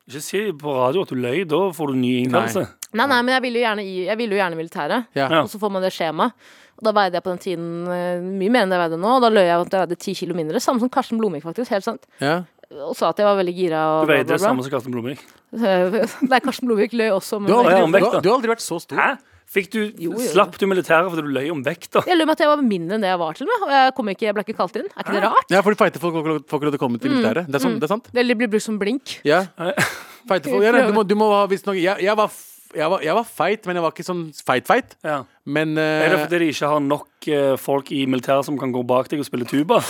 Speaker 5: Ikke si på radio at du løy, da får du ny innkallelse.
Speaker 4: Nei, nei, men jeg ville jo gjerne i jeg ville jo gjerne i militæret.
Speaker 3: Ja.
Speaker 5: Ja.
Speaker 4: Og så får man det skjemaet. Og da veide jeg på den tiden eh, mye mer enn det jeg veide nå. Og da løy jeg at jeg veide ti kilo mindre. Samme som Karsten Blomvik, faktisk. Helt sant.
Speaker 3: Ja.
Speaker 4: Og sa at jeg var veldig gira. Og
Speaker 5: Du vet det
Speaker 4: bla,
Speaker 5: er
Speaker 4: bla,
Speaker 5: samme som Karsten Blomvik.
Speaker 4: bla. Nei, Karsten Blomvik løy også. Men
Speaker 3: Du, har
Speaker 5: Ja,
Speaker 3: aldri,
Speaker 5: om vekta.
Speaker 3: du, har- du har aldri vært så stor.
Speaker 5: Hæ? Fikk du,
Speaker 4: Jo, jo.
Speaker 5: Slapp du militæret fordi du løy om vekta?
Speaker 4: Jeg lurer meg at jeg var mindre enn det jeg var til og med. Og jeg, kom ikke, jeg ble ikke kalt inn. Er ikke det rart? Mm.
Speaker 3: Ja, fordi feite folk får ikke lov- får ikke lov til å komme til militæret. Det, er sånn, det er sant?
Speaker 4: Eller blir brukt som blink.
Speaker 3: Ja. Feite folk, ja, nei, du, må, du må ha visst noe jeg, jeg, var, f- jeg, var, jeg var feit, men jeg var ikke sånn feit-feit.
Speaker 5: Ja.
Speaker 3: Men
Speaker 5: Er det
Speaker 3: eh,
Speaker 5: fordi de ikke har nok eh, folk i militæret som kan gå bak deg og spille tuba?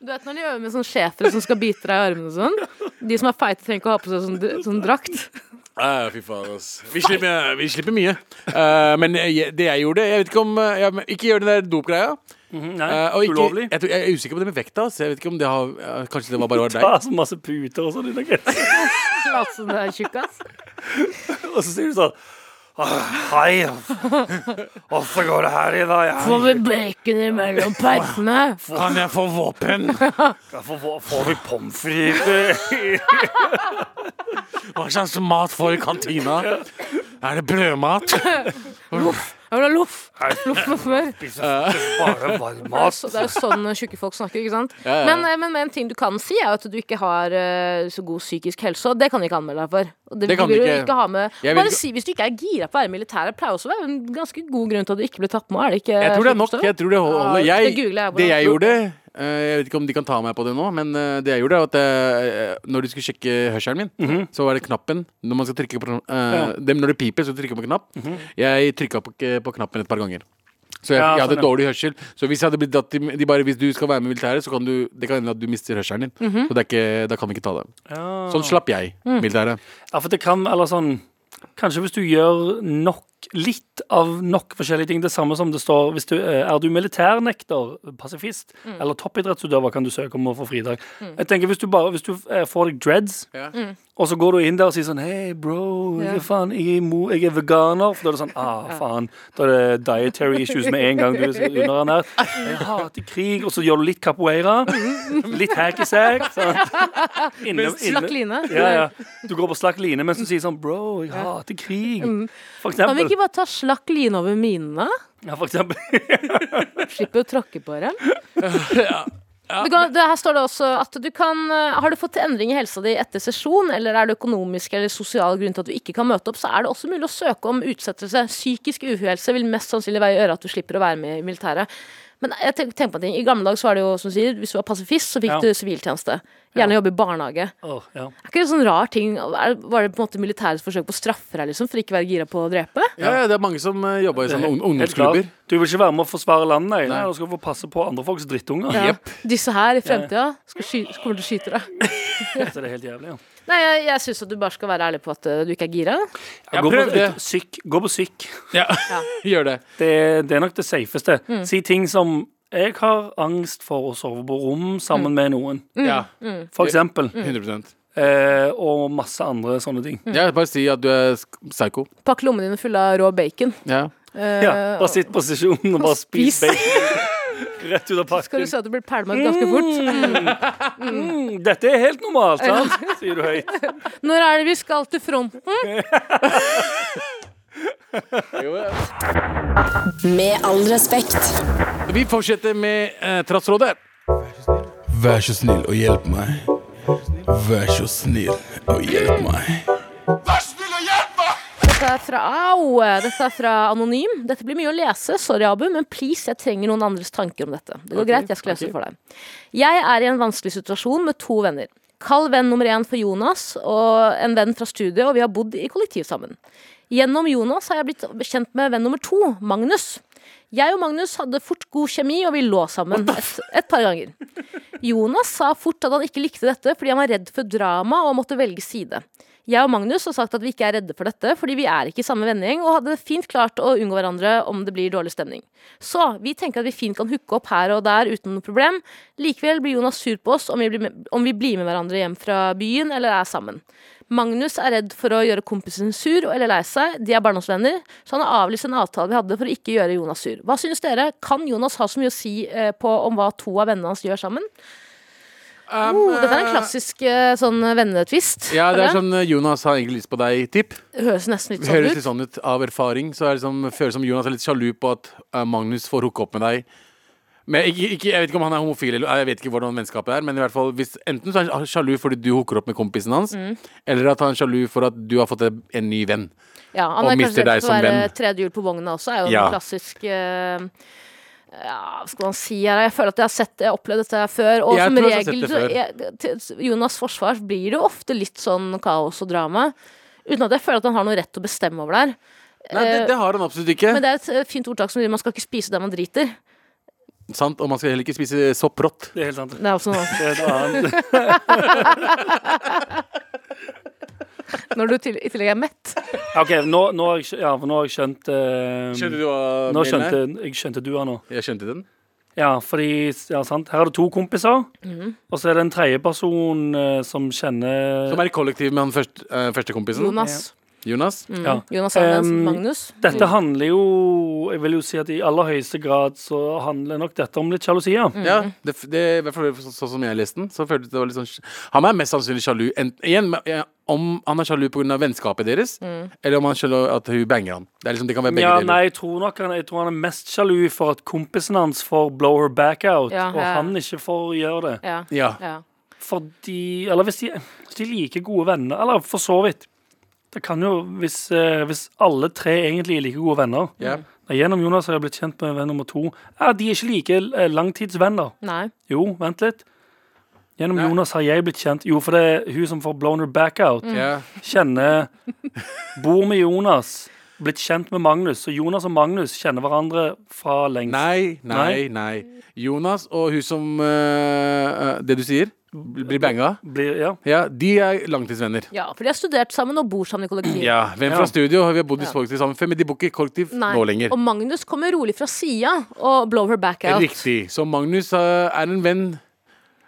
Speaker 4: Du vet når de øver med sånn schæfer som skal bite deg i armene og sånn? De som er feite, trenger ikke å ha på seg sånn, sånn drakt.
Speaker 3: eh, Fy faen, ass. Vi slipper, vi slipper mye. Eh, men jeg, det jeg gjorde Jeg vet ikke om eh, jeg, men Ikke gjør den der dopgreia.
Speaker 5: Nei,
Speaker 3: Eh, og ikke,
Speaker 5: ulovlig.
Speaker 3: jeg, tror- jeg er usikker på det med vekta. ass. jeg vet ikke om det har, eh, Kanskje det var bare var deg.
Speaker 5: Ta så masse puter og sånn. i noe.
Speaker 4: Lat som du er tjukkas.
Speaker 5: Og så sier du sånn «Åh, Hei, åssen går det her i dag? Jeg-
Speaker 4: Får vi bacon imellom peisene?
Speaker 3: Kan jeg få våpen?
Speaker 5: jeg Får får- får vi pommes frites?
Speaker 3: Hva slags mat får i kantina? Er det brødmat?
Speaker 4: Jeg vil ha loff! Loff med smør.
Speaker 5: Bare varm mat.
Speaker 4: Så Det er jo sånn tjukke folk snakker, ikke sant?
Speaker 3: Ja, ja.
Speaker 4: Men, eh, men, men en ting du kan si, er jo at du ikke har eh, så god psykisk helse, og det kan de ikke anmelde deg for. Og
Speaker 3: Det kan de
Speaker 4: vil du
Speaker 3: ikke.
Speaker 4: ikke ha med.
Speaker 3: Jeg vil
Speaker 4: Bare
Speaker 3: ikke-
Speaker 4: si hvis du ikke er gira på å være i militæret, pleier også å være en ganske god grunn til at du ikke ble tatt med. Er det ikke
Speaker 3: Jeg tror det er nok. Jeg tror det holder.
Speaker 4: Ja,
Speaker 3: Jeg,
Speaker 4: det googler jeg på.
Speaker 3: det jeg gjorde eh, Jeg vet ikke om de kan ta meg på det nå, men eh, det jeg gjorde, er at eh, når de skulle sjekke hørselen min, så var det knappen Når man skal trykke på eh, dem, Når det piper, så trykker man på knapp. Jeg trykka på, eh, på knappen et par ganger. Så jeg,
Speaker 5: Ja,
Speaker 3: jeg hadde
Speaker 5: sånn, ja.
Speaker 3: dårlig hørsel. Så hvis jeg hadde blitt datt i de bare, Hvis du skal være med i militæret, så kan du Det kan hende at du mister hørselen din. Så det er ikke, da kan vi ikke ta deg. Sånn slapp jeg militæret.
Speaker 5: Ja, for det kan, eller sånn Kanskje hvis du gjør nok litt av nok forskjellige ting. Det samme som det står hvis du, eh, Er du militærnekter, pasifist eller toppidrettsutøver, kan du søke om å få fridag. Jeg tenker Hvis du bare hvis du eh, får deg dreads,
Speaker 3: Ja.
Speaker 5: og så går du inn der og sier sånn Hei, bro, jeg er, faen, jeg, er imo, jeg er veganer. For da er det sånn Ah, faen. Da er det dietary issues med en gang du er så underernært. Jeg hater krig. Og så gjør du litt capoeira. Litt hacky-sack.
Speaker 4: Slakk line.
Speaker 5: Ja, ja. Du går på slakk line mens du sier sånn Bro, jeg hater krig. For
Speaker 4: Mm. Kan vi
Speaker 5: eksempel.
Speaker 4: ikke bare ta slakk line over minene?
Speaker 5: Ja, for eksempel.
Speaker 4: Slipper å tråkke på dem. Du kan, det her står det også at du kan eh, Har du fått endring i helsa di etter sesjon, eller er det økonomisk eller sosial grunn til at du ikke kan møte opp, så er det også mulig å søke om utsettelse. Psykisk uhelse vil mest sannsynlig være i øret at du slipper å være med i militæret. Men jeg tenk, tenk på en ting. I gamle dager så var det jo, som du sier, hvis du var pasifist, så fikk
Speaker 5: Ja.
Speaker 4: du siviltjeneste. Gjerne jobbe i barnehage.
Speaker 5: Åh, ja.
Speaker 4: Er ikke det sånn rar ting? Er, var det på en måte militærets forsøk på å straffe deg, liksom, for ikke å være gira på å drepe?
Speaker 3: Ja, ja, det er mange som uh, jobba i sånne ung-
Speaker 5: Helt klart.
Speaker 3: ungdomsklubber.
Speaker 5: Du vil ikke være med å forsvare landet? Nei. Nei, da skal du få passe på andre folks drittunger.
Speaker 4: Ja.
Speaker 3: Jepp.
Speaker 4: Disse her i fremtida skal sky kommer til å skyte deg.
Speaker 5: Så det er helt jævlig, ja.
Speaker 4: Nei, jeg, jeg syns at du bare skal være ærlig på at eh, du ikke er gira.
Speaker 3: Jeg
Speaker 5: gå, på,
Speaker 3: prøvde.
Speaker 5: syk, gå på syk.
Speaker 3: Ja, gjør det.
Speaker 4: Mm.
Speaker 5: Det, det er nok det safeste. Si ting som Jeg har angst for å sove på rom
Speaker 4: Mm.
Speaker 5: sammen med noen,
Speaker 3: Ja,
Speaker 5: for eksempel.
Speaker 3: 100
Speaker 5: Eh, og masse andre sånne ting.
Speaker 3: Jeg bare si at du er sk- psycho.
Speaker 4: Pakk lommene dine fulle av rå bacon.
Speaker 3: Ja.
Speaker 4: Eh,
Speaker 5: Ja, bare sitt på sesjonen og bare spis
Speaker 4: spis.
Speaker 5: bacon. Rett ut av
Speaker 4: Skal du
Speaker 5: pakken.
Speaker 4: se at du blir pælma ut ganske fort?
Speaker 5: Mm, Dette er helt normalt, sant? Sier du høyt.
Speaker 4: Når er det vi skal til fronten?
Speaker 1: Med all respekt.
Speaker 3: Vi fortsetter med eh, Trassrådet.
Speaker 6: Vær så snill og hjelp meg. Vær så snill og hjelp meg.
Speaker 4: Dette er fra Au! Dette er fra Anonym. Dette blir mye å lese, sorry Abu, men please, jeg trenger noen andres tanker om dette. Det går greit, jeg skal lese det for deg. Jeg er i en vanskelig situasjon med to venner. Kall venn nummer én for Jonas og en venn fra studiet, og vi har bodd i kollektiv sammen. Gjennom Jonas har jeg blitt kjent med venn nummer to, Magnus. Jeg og Magnus hadde fort god kjemi, og vi lå sammen et, et par ganger. Jonas sa fort at han ikke likte dette fordi han var redd for drama og måtte velge side. Jeg og Magnus har sagt at vi ikke er redde for dette, fordi vi er ikke i samme vennegjeng og hadde fint klart å unngå hverandre om det blir dårlig stemning. Så vi tenker at vi fint kan hooke opp her og der uten noe problem. Likevel blir Jonas sur på oss om vi blir med, om vi blir med hverandre hjem fra byen eller er sammen. Magnus er redd for å gjøre kompisen sur eller lei seg, de er barndomsvenner, så han har avlyst en avtale vi hadde for å ikke gjøre Jonas sur. Hva synes dere? Kan Jonas ha så mye å si eh, på om hva to av vennene hans gjør sammen? Oh, dette er en klassisk eh, sånn vennetvist.
Speaker 3: Um, Ja, det er
Speaker 4: føler jeg.
Speaker 3: sånn eh, Jonas har egentlig lyst på deg-tipp.
Speaker 4: Høres nesten litt
Speaker 3: Det
Speaker 4: sånn
Speaker 3: høres litt
Speaker 4: ut.
Speaker 3: sånn ut av erfaring. Så er det som, føles som Jonas er litt sjalu på at eh, Magnus får hooke opp med deg. Men jeg- ikke, ikke, Jeg vet ikke om han er homofil, eller jeg vet ikke hvordan vennskapet er. Men i hvert fall, hvis, enten så er han sjalu fordi du hooker opp med kompisen hans,
Speaker 4: Mm.
Speaker 3: eller at han er sjalu for at du har fått en ny venn.
Speaker 4: Ja, han
Speaker 3: sånn- Og
Speaker 4: er
Speaker 3: mister deg
Speaker 4: kanskje redd for å
Speaker 3: som
Speaker 4: være
Speaker 3: venn.
Speaker 4: tredje hjul på vogna også, er jo
Speaker 3: Ja.
Speaker 4: en klassisk eh, ja, hva skal man si her? Jeg føler at jeg har sett, jeg har opplevd dette her før. Og
Speaker 3: Jeg
Speaker 4: som
Speaker 3: tror jeg har
Speaker 4: regel,
Speaker 3: sett det
Speaker 4: så- jeg- til Jonas' forsvar blir det jo ofte litt sånn kaos og drama. Uten at jeg føler at han har noe rett til å bestemme over det her.
Speaker 3: Nei, det, det har han absolutt ikke.
Speaker 4: Eh, Men det er et eh, fint ordtak som sier man skal ikke spise det man driter.
Speaker 3: Sant, Og man skal heller ikke spise sopp rått.
Speaker 5: Det er helt sant.
Speaker 4: Det er også noe
Speaker 5: Det er et annet.
Speaker 4: Når du til, i tillegg er mett.
Speaker 5: OK, nå, nå, har, jeg, skj- ja, for nå har jeg skjønt eh,
Speaker 3: du hva
Speaker 5: Nå skjønte jeg skjønte du her nå.
Speaker 3: Jeg skjønte den.
Speaker 5: Ja, fordi ja, sant. Her er det to kompiser,
Speaker 4: Mm.
Speaker 5: og så er det en tredjeperson eh, som kjenner
Speaker 3: Som er i kollektiv med han først, eh, første kompisen.
Speaker 4: Jonas. Mm.
Speaker 3: Jonas.
Speaker 5: ja.
Speaker 4: Jonas Andensen.
Speaker 5: Um,
Speaker 4: Magnus. Mm.
Speaker 5: Dette handler jo Jeg vil jo si at i aller høyeste grad så handler nok dette om litt sjalusi, ja.
Speaker 4: Mm.
Speaker 3: Ja, det, det, i hvert fall så- sånn som jeg leste den, så følte jeg det var litt sånn sj- Han er mest sannsynlig sjalu en, igjen, men, eh, om han er sjalu pga. vennskapet deres,
Speaker 4: Mm.
Speaker 3: eller om han er sjalu at hun banger han. Det, er liksom, det kan være begge
Speaker 5: Ja,
Speaker 3: deler.
Speaker 5: nei, jeg tror nok han, jeg tror han er mest sjalu for at kompisen hans får blow her back out,
Speaker 4: Ja,
Speaker 5: og
Speaker 4: ja.
Speaker 5: han ikke får gjøre det.
Speaker 4: Ja.
Speaker 3: Ja.
Speaker 4: ja.
Speaker 5: Fordi Eller hvis de, hvis de er like gode venner, eller for så vidt Det kan jo, hvis, eh, hvis alle tre egentlig er like gode venner
Speaker 3: Ja.
Speaker 5: Nei, Gjennom Jonas har jeg blitt kjent med venn nummer to. Ja, de er ikke like eh, langtidsvenner.
Speaker 4: Nei.
Speaker 5: Jo, vent litt. Gjennom Jonas har jeg blitt kjent Jo, for det er hun som får blown her back out.
Speaker 4: Mm.
Speaker 3: Ja.
Speaker 5: Kjenner Bor med Jonas. Blitt kjent med Magnus. Så Jonas og Magnus kjenner hverandre fra lengst.
Speaker 3: Nei, nei, nei. Jonas og hun som eh, eh, Det du sier, bl- blir banga.
Speaker 5: Blir, ja.
Speaker 3: Ja, de er langtidsvenner.
Speaker 4: Ja, for de har studert sammen og bor sammen i kollektiv.
Speaker 3: Ja, Hvem
Speaker 5: Ja.
Speaker 3: fra studio? Vi har bodd i kollektiv sammen før, men de bor ikke i kollektiv
Speaker 4: Nei.
Speaker 3: nå lenger.
Speaker 4: Og Magnus kommer rolig fra sida og blow her back out.
Speaker 3: Riktig. Så Magnus eh, er en venn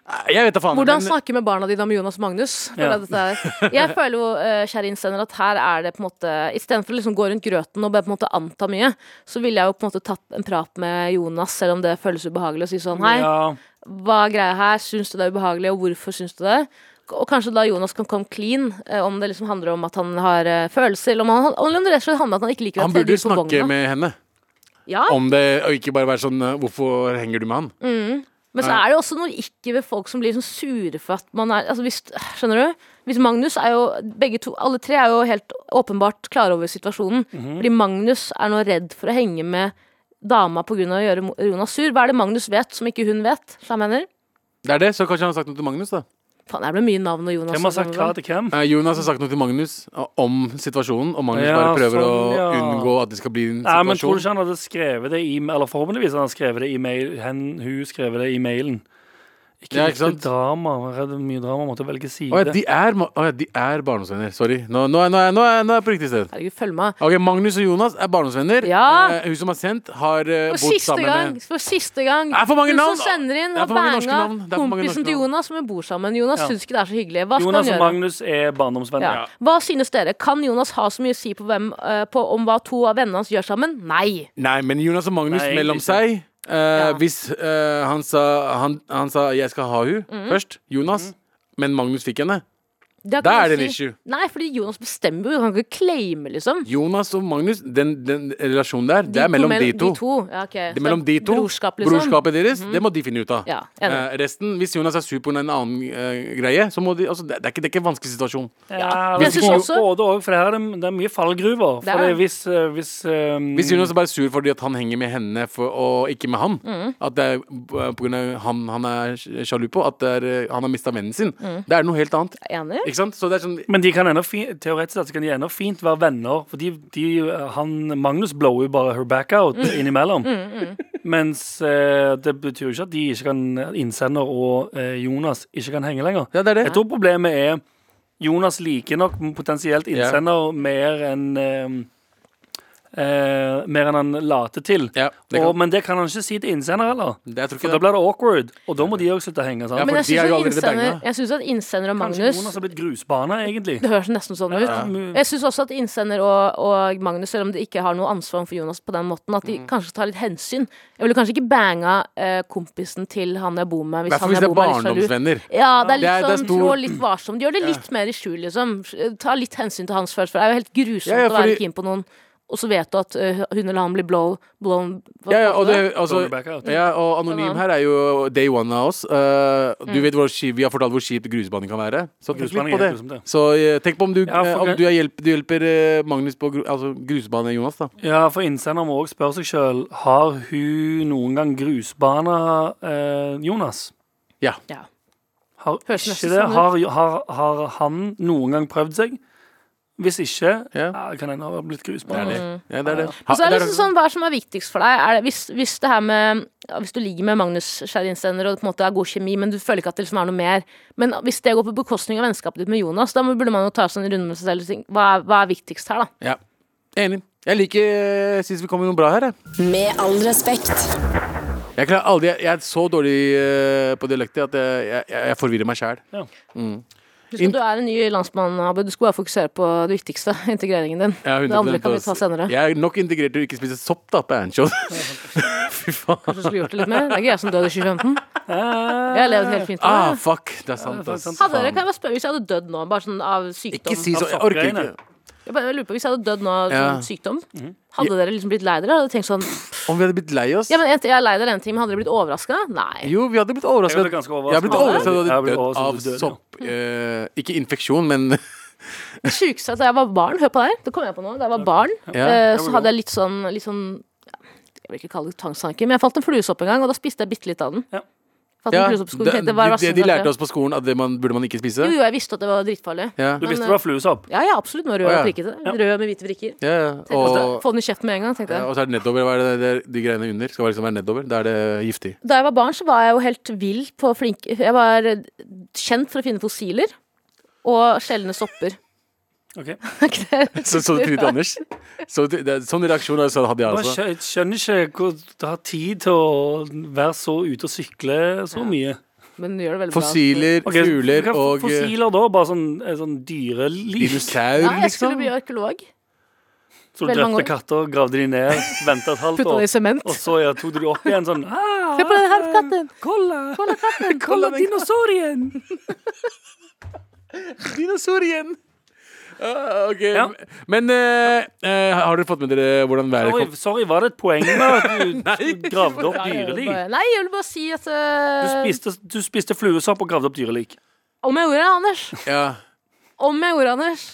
Speaker 3: Eh, Jeg vet da faen.
Speaker 4: Hvordan
Speaker 3: men-
Speaker 4: snakke med barna dine om Jonas og Magnus? Føler
Speaker 5: Ja.
Speaker 4: jeg dette er. Jeg føler jo, eh, kjære innsender, at her er det på en måte Istedenfor å liksom gå rundt grøten og bare på en måte anta mye, så ville jeg jo på en måte tatt en prat med Jonas, selv om det føles ubehagelig, og si sånn Hei,
Speaker 5: ja.
Speaker 4: hva er greia her? Syns du det er ubehagelig, og hvorfor syns du det? Og kanskje da Jonas kan komme clean, eh, om det liksom handler om at han har eh, følelser, eller om, han, eller om det rett og slett handler om at han ikke liker
Speaker 3: Han
Speaker 4: at tredje
Speaker 3: burde
Speaker 4: ut på
Speaker 3: snakke
Speaker 4: vogna.
Speaker 3: med henne
Speaker 4: Ja,
Speaker 3: om det, og ikke bare være sånn eh, Hvorfor henger du med han?
Speaker 4: Mm. Men så er det jo også noe ikke ved folk som blir sånn sure for at man er altså hvis, Skjønner du? Hvis Magnus er jo begge to, Alle tre er jo helt åpenbart klare over situasjonen.
Speaker 3: Mhm.
Speaker 4: Fordi Magnus er nå redd for å henge med dama pga. å gjøre Mo- Jonas sur. Hva er det Magnus vet som ikke hun vet? Så jeg mener
Speaker 3: Det er det, så kanskje han har sagt noe til Magnus, da.
Speaker 4: Faen, det ble mye navn og Jonas.
Speaker 5: Hvem har
Speaker 4: og
Speaker 5: sagt hva
Speaker 4: sånn.
Speaker 5: til hvem?
Speaker 3: Eh, Jonas har sagt noe til Magnus eh, om situasjonen, og Magnus
Speaker 5: Ja,
Speaker 3: bare prøver
Speaker 5: sånn, ja.
Speaker 3: å unngå at det skal bli en
Speaker 5: Nei, men
Speaker 3: situasjon.
Speaker 5: tror du ikke han hadde skrevet det i Eller forhåpentligvis han hadde skrevet det i mail, hen, hun skrevet det i mailen. Ikke,
Speaker 3: Ja,
Speaker 5: ja,
Speaker 3: ikke sant?
Speaker 5: drama. Jeg er redd det er mye drama. Måtte velge side.
Speaker 3: Å ja, de er, ma- å ja, de er barndomsvenner. Sorry. Nå, nå, er- nå, er- nå, er- nå er jeg på riktig sted.
Speaker 4: Herregud, følg med.
Speaker 3: Ok, Magnus og Jonas er barndomsvenner.
Speaker 4: Ja.
Speaker 3: Eh, hun som har sendt, har eh,
Speaker 4: For
Speaker 3: bodd
Speaker 4: siste
Speaker 3: sammen
Speaker 4: gang!
Speaker 3: med
Speaker 4: For siste gang.
Speaker 3: Det er for mange
Speaker 4: Hun
Speaker 3: navn, da.
Speaker 4: som sender
Speaker 3: Det
Speaker 4: inn,
Speaker 3: er
Speaker 4: har
Speaker 3: for mange norske
Speaker 4: banga
Speaker 3: navn. Det er for mange norske
Speaker 4: kompisen til
Speaker 3: navn.
Speaker 4: Jonas, som vi bor sammen. Jonas
Speaker 5: Ja.
Speaker 4: syns ikke det er så hyggelig. Hva skal
Speaker 5: Jonas
Speaker 4: han
Speaker 5: og
Speaker 4: gjøre?
Speaker 5: Magnus er barndomsvenner.
Speaker 4: Ja. Hva synes dere? Kan Jonas ha så mye å si på, hvem, eh, på om hva to av vennene hans gjør sammen? Nei!
Speaker 3: Nei, men Jonas og Magnus
Speaker 5: Nei,
Speaker 3: mellom
Speaker 5: ikke.
Speaker 3: seg eh,
Speaker 4: Ja.
Speaker 3: Hvis eh, han, sa, han, han sa 'jeg skal ha hun
Speaker 4: Mhm.
Speaker 3: først, Jonas, men Magnus fikk henne.
Speaker 4: Da
Speaker 3: Da
Speaker 4: kan
Speaker 3: er
Speaker 4: man
Speaker 3: det en issue.
Speaker 4: Nei, fordi Jonas bestemmer jo. Han kan ikke claime, liksom.
Speaker 3: Jonas og Magnus, den, den relasjonen der, det er mellom de to.
Speaker 4: De to. Ja, ok.
Speaker 3: Det
Speaker 4: Så
Speaker 3: er mellom de to.
Speaker 4: Brorskap, liksom.
Speaker 3: Brorskapet deres, det må de finne ut av.
Speaker 4: Ja, enig.
Speaker 3: Eh, resten, hvis Jonas er sur på en annen eh, greie, så må de altså, det, det, er ikke, det er ikke en vanskelig situasjon.
Speaker 5: Ja,
Speaker 4: Jeg
Speaker 5: det
Speaker 4: synes
Speaker 5: er
Speaker 4: også-
Speaker 5: både og, for her er det, det er mye fallgruver.
Speaker 4: Det er
Speaker 5: For det,
Speaker 4: det.
Speaker 5: hvis, eh, hvis, eh,
Speaker 3: Hvis Jonas er bare sur fordi at han henger med henne for, og ikke med han,
Speaker 4: Mhm.
Speaker 3: at det er eh, på grunn av han han er sjalu på, at det er, eh, han har mista vennen sin,
Speaker 4: Mhm.
Speaker 3: det er noe helt annet.
Speaker 4: Enig?
Speaker 3: Ikke sant? Så det er sånn
Speaker 5: Men de kan ennå fi- teoretisk sett så kan de ennå fint være venner. For de, de, han, Magnus blower jo bare her back out
Speaker 4: Mm.
Speaker 5: innimellom. Mens eh, det betyr jo ikke at de ikke kan innsender og eh, Jonas ikke kan henge lenger.
Speaker 3: Ja, det er det.
Speaker 5: Jeg tror problemet er Jonas liker nok potensielt innsender mer enn eh, eh, Mer enn han later til.
Speaker 3: Ja, det kan-
Speaker 5: og, men det kan han ikke si til innsender heller.
Speaker 3: Det- jeg tror ikke
Speaker 5: For da
Speaker 3: det.
Speaker 5: blir det awkward, og da må de òg slutte å henge.
Speaker 3: Ja,
Speaker 5: Sant?
Speaker 3: for
Speaker 4: Men jeg
Speaker 3: de er
Speaker 4: syns
Speaker 3: jo
Speaker 4: at,
Speaker 3: allerede
Speaker 4: innsender-
Speaker 3: banga.
Speaker 4: jeg synes at innsender og
Speaker 5: Kanskje
Speaker 4: Magnus
Speaker 5: Jonas har blitt grusbana, egentlig.
Speaker 4: Det høres nesten sånn ut.
Speaker 3: Mm.
Speaker 4: Jeg syns også at innsender og, og Magnus, selv om de ikke har noe ansvar for Jonas på den måten, at de
Speaker 3: Mm.
Speaker 4: kanskje tar litt hensyn. Jeg ville kanskje ikke banga eh, kompisen til han jeg bor med,
Speaker 3: I
Speaker 4: hvis
Speaker 3: hvert fall
Speaker 4: han
Speaker 3: hvis
Speaker 4: jeg
Speaker 3: det er
Speaker 4: bor med er litt sjalu.
Speaker 3: barndomsvenner.
Speaker 4: Ja, det
Speaker 3: Det
Speaker 4: er
Speaker 3: er-
Speaker 4: litt
Speaker 3: det er
Speaker 4: sånn
Speaker 3: stor-
Speaker 4: trå litt varsom. De gjør det litt mer i skjul, liksom. Ta litt hensyn til hans følelser. Det er jo helt grusomt
Speaker 3: Ja, ja,
Speaker 4: å
Speaker 3: fordi-
Speaker 4: være keen på noen, og så vet du at eh, hun eller han blir blow, blown hva
Speaker 3: Ja, ja,
Speaker 4: kalte
Speaker 3: og,
Speaker 4: du
Speaker 3: det, altså,
Speaker 5: Blower back out.
Speaker 3: ja, og anonym her er jo day one av oss. Eh, du vet hvor, skip- vi har fortalt hvor kjipt grusbaning kan være. Så tenk litt på
Speaker 5: Grusbaning er
Speaker 3: det.
Speaker 5: grusomt, ja.
Speaker 3: Så eh, tenk på om du,
Speaker 5: Ja, for-
Speaker 3: eh, om du, er hjelp, du hjelper eh, Magnus på gru, altså, grusbane, Jonas. da
Speaker 5: Ja, for innsender må også spørre seg sjøl Har hun noen gang grusbana eh, Jonas.
Speaker 3: Ja.
Speaker 4: Ja.
Speaker 5: Har,
Speaker 4: Høres
Speaker 5: ikke
Speaker 4: nesten
Speaker 5: det.
Speaker 4: sånn ut.
Speaker 5: Har, har, har han noen gang prøvd seg? Hvis ikke, ja.
Speaker 3: Ja.
Speaker 5: kan hende ha blitt
Speaker 3: Det er
Speaker 5: grusbana.
Speaker 3: det. Mm. Ja, det, er det.
Speaker 4: Og så er det
Speaker 3: det er-
Speaker 4: liksom sånn, Hva er det som er viktigst for deg? Er det, hvis, hvis det her med ja, Hvis du ligger med Magnus Skjærinstender og det på en måte er god kjemi, men du føler ikke at det liksom er noe mer Men hvis det går på bekostning av vennskapet ditt med Jonas, da må- burde man jo ta seg en runde med seg selv og tenke hva, er- hva er viktigst her, da?
Speaker 3: Ja. Enig. Jeg liker Jeg syns vi kommer med noe bra her. Jeg,
Speaker 1: Med all respekt.
Speaker 3: jeg, klarer aldri, jeg, jeg er så dårlig eh, på dialekter at jeg, jeg, jeg forvirrer meg sjæl.
Speaker 4: Husk
Speaker 3: In-
Speaker 4: at du er en ny landsmann, Abu. Du skulle bare fokusere på det viktigste, integreringen din. det andre kan vi ta senere.
Speaker 3: altså. Jeg er nok integrert til å ikke spise sopp da på Anchos. Fy faen.
Speaker 4: Kanskje du skulle gjort det litt mer? Det er ikke jeg som døde i 2015.
Speaker 5: Eh,
Speaker 4: Jeg har levd helt fint
Speaker 3: Ah,
Speaker 4: med det.
Speaker 3: fuck. Det er sant, ass.
Speaker 4: Hadde
Speaker 3: Faen.
Speaker 4: dere, kan jeg bare spørre, Hvis jeg hadde dødd nå, bare sånn av sykdom
Speaker 3: Ikke si
Speaker 5: Av
Speaker 3: sånn. Jeg orker
Speaker 5: soppgreiene.
Speaker 3: ikke.
Speaker 4: Jeg bare lurer på, Hvis jeg hadde dødd nå av
Speaker 3: Ja. Mm.
Speaker 4: sånn sykdom, hadde dere liksom blitt lei dere? Hadde dere tenkt sånn
Speaker 3: Om vi hadde blitt lei oss?
Speaker 4: Ja, men en ting- Jeg er lei deg den ting, men hadde dere blitt overraska? Nei.
Speaker 3: Jo, vi hadde blitt overrasket.
Speaker 5: Jeg ble ganske overrasket.
Speaker 3: Jeg hadde blitt overrasket at du
Speaker 5: Jeg
Speaker 3: hadde
Speaker 5: ble
Speaker 3: dødd
Speaker 5: overrasket
Speaker 3: av
Speaker 5: at du døde, ja.
Speaker 3: sopp. Eh, ikke infeksjon, men
Speaker 4: Det sjukeste da jeg var barn, hør på det her, det kom jeg på nå, da jeg var barn,
Speaker 3: Ja.
Speaker 4: eh, så hadde jeg litt sånn, litt sånn ja, Jeg vil ikke kalle det tvangstanke, men jeg falt en fluesopp en gang, og da spiste jeg bitte litt av den.
Speaker 5: Ja.
Speaker 4: Falt
Speaker 3: ja,
Speaker 4: en
Speaker 3: det,
Speaker 4: fluesopp i skogen, tenkte, hva er
Speaker 3: det, det de
Speaker 4: verste som
Speaker 3: lærte
Speaker 4: kan skje?
Speaker 3: oss på skolen, at det man, burde man ikke spise.
Speaker 4: Jo, jo, jeg visste at det var dritfarlig.
Speaker 3: Ja,
Speaker 5: Du
Speaker 3: ja,
Speaker 5: visste det var fluesopp?
Speaker 4: Ja, ja, absolutt. Med rød
Speaker 3: Å, ja.
Speaker 4: og prikkete. Rød med hvite prikker.
Speaker 3: ja.
Speaker 4: Og,
Speaker 3: Og,
Speaker 4: Få den i kjeften med en gang, tenkte
Speaker 3: ja,
Speaker 4: jeg.
Speaker 3: og så er det nedover. Hva er det, det, de greiene under skal liksom være nedover. Da er det giftig.
Speaker 4: Da jeg var barn, så var jeg jo helt vill på flink Jeg var eh, kjent for å finne fossiler og sjeldne stopper.
Speaker 5: Ok.
Speaker 4: Er ikke det?
Speaker 3: Så, så du trynet til Anders? Så, du- det, sånn reaksjon er- så hadde jeg altså.
Speaker 5: Bare
Speaker 3: også.
Speaker 5: skjø- Jeg skjønner ikke hvor du har tid til å være så ute og sykle så mye.
Speaker 4: Men du gjør det veldig bra.
Speaker 3: Fossiler,
Speaker 5: Ok,
Speaker 3: fugler
Speaker 5: hva-
Speaker 3: og eh,
Speaker 5: Fossiler da, bare sånn, eh, sånn dyreliv.
Speaker 3: dinosaur,
Speaker 4: Ja, jeg skulle
Speaker 3: liksom.
Speaker 4: bli arkeolog.
Speaker 5: Så du
Speaker 4: veldig mange
Speaker 5: drepte
Speaker 4: år.
Speaker 5: katter, gravde de ned, venta et halvt
Speaker 4: Putta det i
Speaker 5: år,
Speaker 4: sement.
Speaker 5: og så ja, tok du de opp igjen sånn ah,
Speaker 4: Se på den her katten!
Speaker 5: Kolla!
Speaker 4: Kolla katten!
Speaker 5: Kolla dinosaurien!
Speaker 3: Dinosaur igjen! Ah, ok.
Speaker 5: Ja.
Speaker 3: Men eh, eh, har dere fått med dere hvordan været
Speaker 5: Sorry,
Speaker 3: kom?
Speaker 5: sorry, var det et poeng med at du gravde opp
Speaker 4: Nei, jeg vil
Speaker 5: dyreliv?
Speaker 4: bare- Nei, jeg vil bare si at
Speaker 5: Du
Speaker 4: eh,
Speaker 5: spiste, du spiste fluesopp og gravde opp dyrelik.
Speaker 4: Om jeg gjorde det, Anders.
Speaker 3: Ja.
Speaker 4: Om jeg gjorde det, Anders.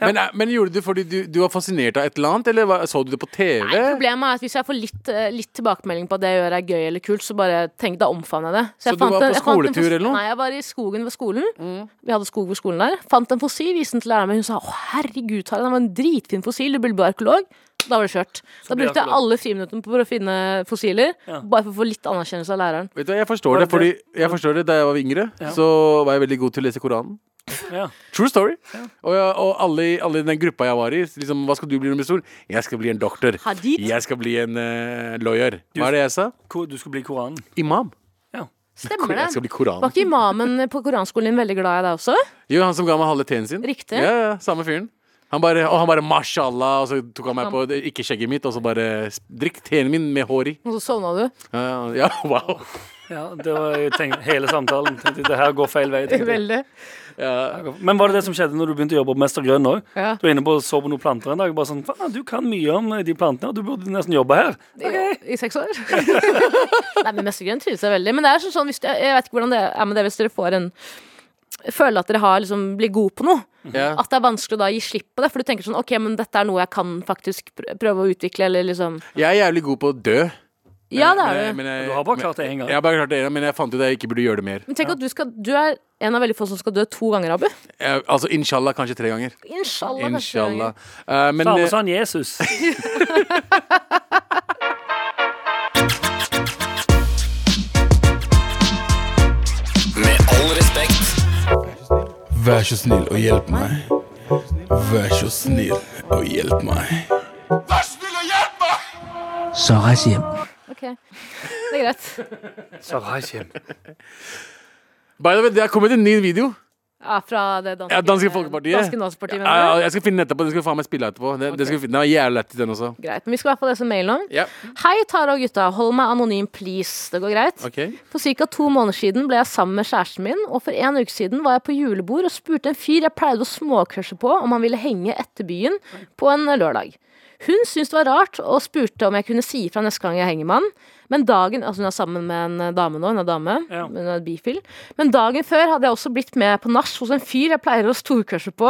Speaker 3: Men, eh, men gjorde du det fordi du, du var fascinert av et eller annet, eller hva- så du det på TV?
Speaker 4: Nei, problemet er at hvis jeg får litt, eh, litt tilbakemelding på at det jeg gjør er gøy eller kult, så bare tenk, da omfavner jeg det.
Speaker 3: Så
Speaker 4: jeg
Speaker 3: du var
Speaker 4: en-
Speaker 3: på
Speaker 4: jeg fant en
Speaker 3: skoletur
Speaker 4: fos-
Speaker 3: eller noe? Mm.
Speaker 4: Nei, jeg var i skogen ved skolen. Vi hadde skog ved skolen der. Fant en fossil, viste den til læreren min. Hun sa 'Å, herregud, Tara, den var en dritfin fossil, du burde bli arkeolog'. Da var det kjørt. Da
Speaker 5: blir det
Speaker 4: brukte jeg
Speaker 5: akkurat.
Speaker 4: alle friminuttene på å finne fossiler, bare for å få litt anerkjennelse av læreren.
Speaker 3: Vet du, hva, jeg forstår det, fordi jeg forstår det da jeg var yngre, så var jeg veldig god til å lese Koranen.
Speaker 5: Ja.
Speaker 3: True story. Og, jeg, og alle, i- alle i den gruppa jeg var i, liksom, hva skal du bli når du blir stor? Jeg skal bli en doktor.
Speaker 4: Hadid.
Speaker 3: Jeg skal bli en eh, lawyer. Hva er det jeg sa?
Speaker 5: Ko- Du skal bli Koranen.
Speaker 3: Imam.
Speaker 4: Stemmer
Speaker 3: Jeg skal
Speaker 4: det?
Speaker 3: bli Koran.
Speaker 4: Var ikke imamen på koranskolen din veldig glad i deg også?
Speaker 3: Jo, han som ga meg halve teen sin.
Speaker 4: Riktig.
Speaker 3: Ja, ja, samme fyren. Han bare, og han bare 'mashallah', og så tok han meg på det- ikke skjegget mitt, og så bare 'drikk teen min med hår i'.
Speaker 4: Og så sovna du.
Speaker 3: Ja, ja, wow.
Speaker 5: Ja, det var jeg tenkte, hele samtalen. Tenkte, jeg, det her går feil vei. tenkte jeg.
Speaker 4: Veldig.
Speaker 5: Men var det det som skjedde når du begynte å jobbe på Mester Grønn òg?
Speaker 4: Ja.
Speaker 5: Du var inne på og så på noen planter en dag. Bare sånn, faen, du kan mye om eh, de plantene, og du burde nesten jobbe her.
Speaker 4: I seks år. Nei, men Mestergrønn trives jeg veldig. Men det er sånn, sånn hvis du, jeg vet ikke hvordan det er med det hvis dere får en Føler at dere har liksom blir gode på noe.
Speaker 3: Ja.
Speaker 4: At det er vanskelig å da gi slipp på det. For du tenker sånn OK, men dette er noe jeg kan faktisk pr- prøve å utvikle, eller liksom
Speaker 3: Jeg er jævlig god på å dø.
Speaker 4: Ja, det er du.
Speaker 3: Eh, Men jeg-
Speaker 5: Du har bare klart det én gang.
Speaker 3: Jeg har bare klart det ene, men jeg fant ut at jeg ikke burde gjøre det mer.
Speaker 4: Men tenk at du skal Du er en av veldig få som skal dø to ganger, Abu.
Speaker 3: Jeg, altså inshallah kanskje tre ganger.
Speaker 4: Inshallah. kanskje tre
Speaker 3: Inshallah.
Speaker 4: ganger.
Speaker 3: Eh, men
Speaker 5: Samme
Speaker 3: eh,
Speaker 5: sa han Jesus.
Speaker 7: Med all respekt.
Speaker 6: Vær så snill og hjelp meg. Vær så snill og hjelp meg.
Speaker 4: Ok, Det er greit.
Speaker 5: Sarajim.
Speaker 3: by the way, det har kommet en ny video.
Speaker 4: Ja, fra det danske
Speaker 3: Ja, Danske Folkepartiet.
Speaker 4: Danske Nazipartiet,
Speaker 3: Ja,
Speaker 4: mener du?
Speaker 3: ja, Eh, jeg skal finne den etterpå. Den skal du faen meg spille etterpå. Den, den, skal, vi finne- den var jævlig lett, den også.
Speaker 4: Greit. Men vi skal i hvert fall lese mailen nå.
Speaker 3: Ja,
Speaker 4: Hei, Tara og gutta. Hold meg anonym, please. Det går greit?
Speaker 3: ok
Speaker 4: For ca. to måneder siden ble jeg sammen med kjæresten min, og for en uke siden var jeg på julebord og spurte en fyr jeg pleide å småkrasje på om han ville henge etter byen på en lørdag. Hun syntes det var rart og spurte om jeg kunne si ifra neste gang jeg henger med han. Men dagen, altså hun er sammen med en eh, dame nå, hun er dame,
Speaker 5: Ja.
Speaker 4: hun er bifil. Men dagen før hadde jeg også blitt med på nach hos en fyr jeg pleier å storkrasje på.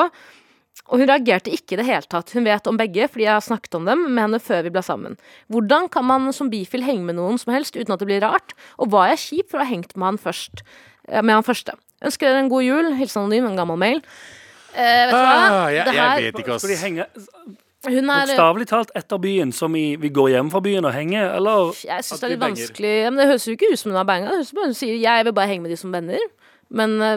Speaker 4: Og hun reagerte ikke i det hele tatt. Hun vet om begge, fordi jeg har snakket om dem med henne før vi ble sammen. Hvordan kan man som bifil henge med noen som helst uten at det blir rart? Og var jeg kjip for å ha hengt med han først? eh, Med han første. Ønsker dere en god jul. Hilsen anonym, en gammel mail. Eh, vet du hva?
Speaker 3: Ah, jeg,
Speaker 4: Det
Speaker 3: jeg
Speaker 4: her-
Speaker 3: vet ikke, ass.
Speaker 5: Skal de henge
Speaker 4: Hun er
Speaker 5: bokstavelig talt etter byen, som i vi går hjem fra byen og henger, eller
Speaker 4: Jeg synes
Speaker 5: At
Speaker 4: det er
Speaker 5: de
Speaker 4: litt
Speaker 5: banger.
Speaker 4: vanskelig ja, men Det høres jo ikke ut som hun har banga. Det høres ut som hun sier jeg vil bare henge med de som venner. Men eh,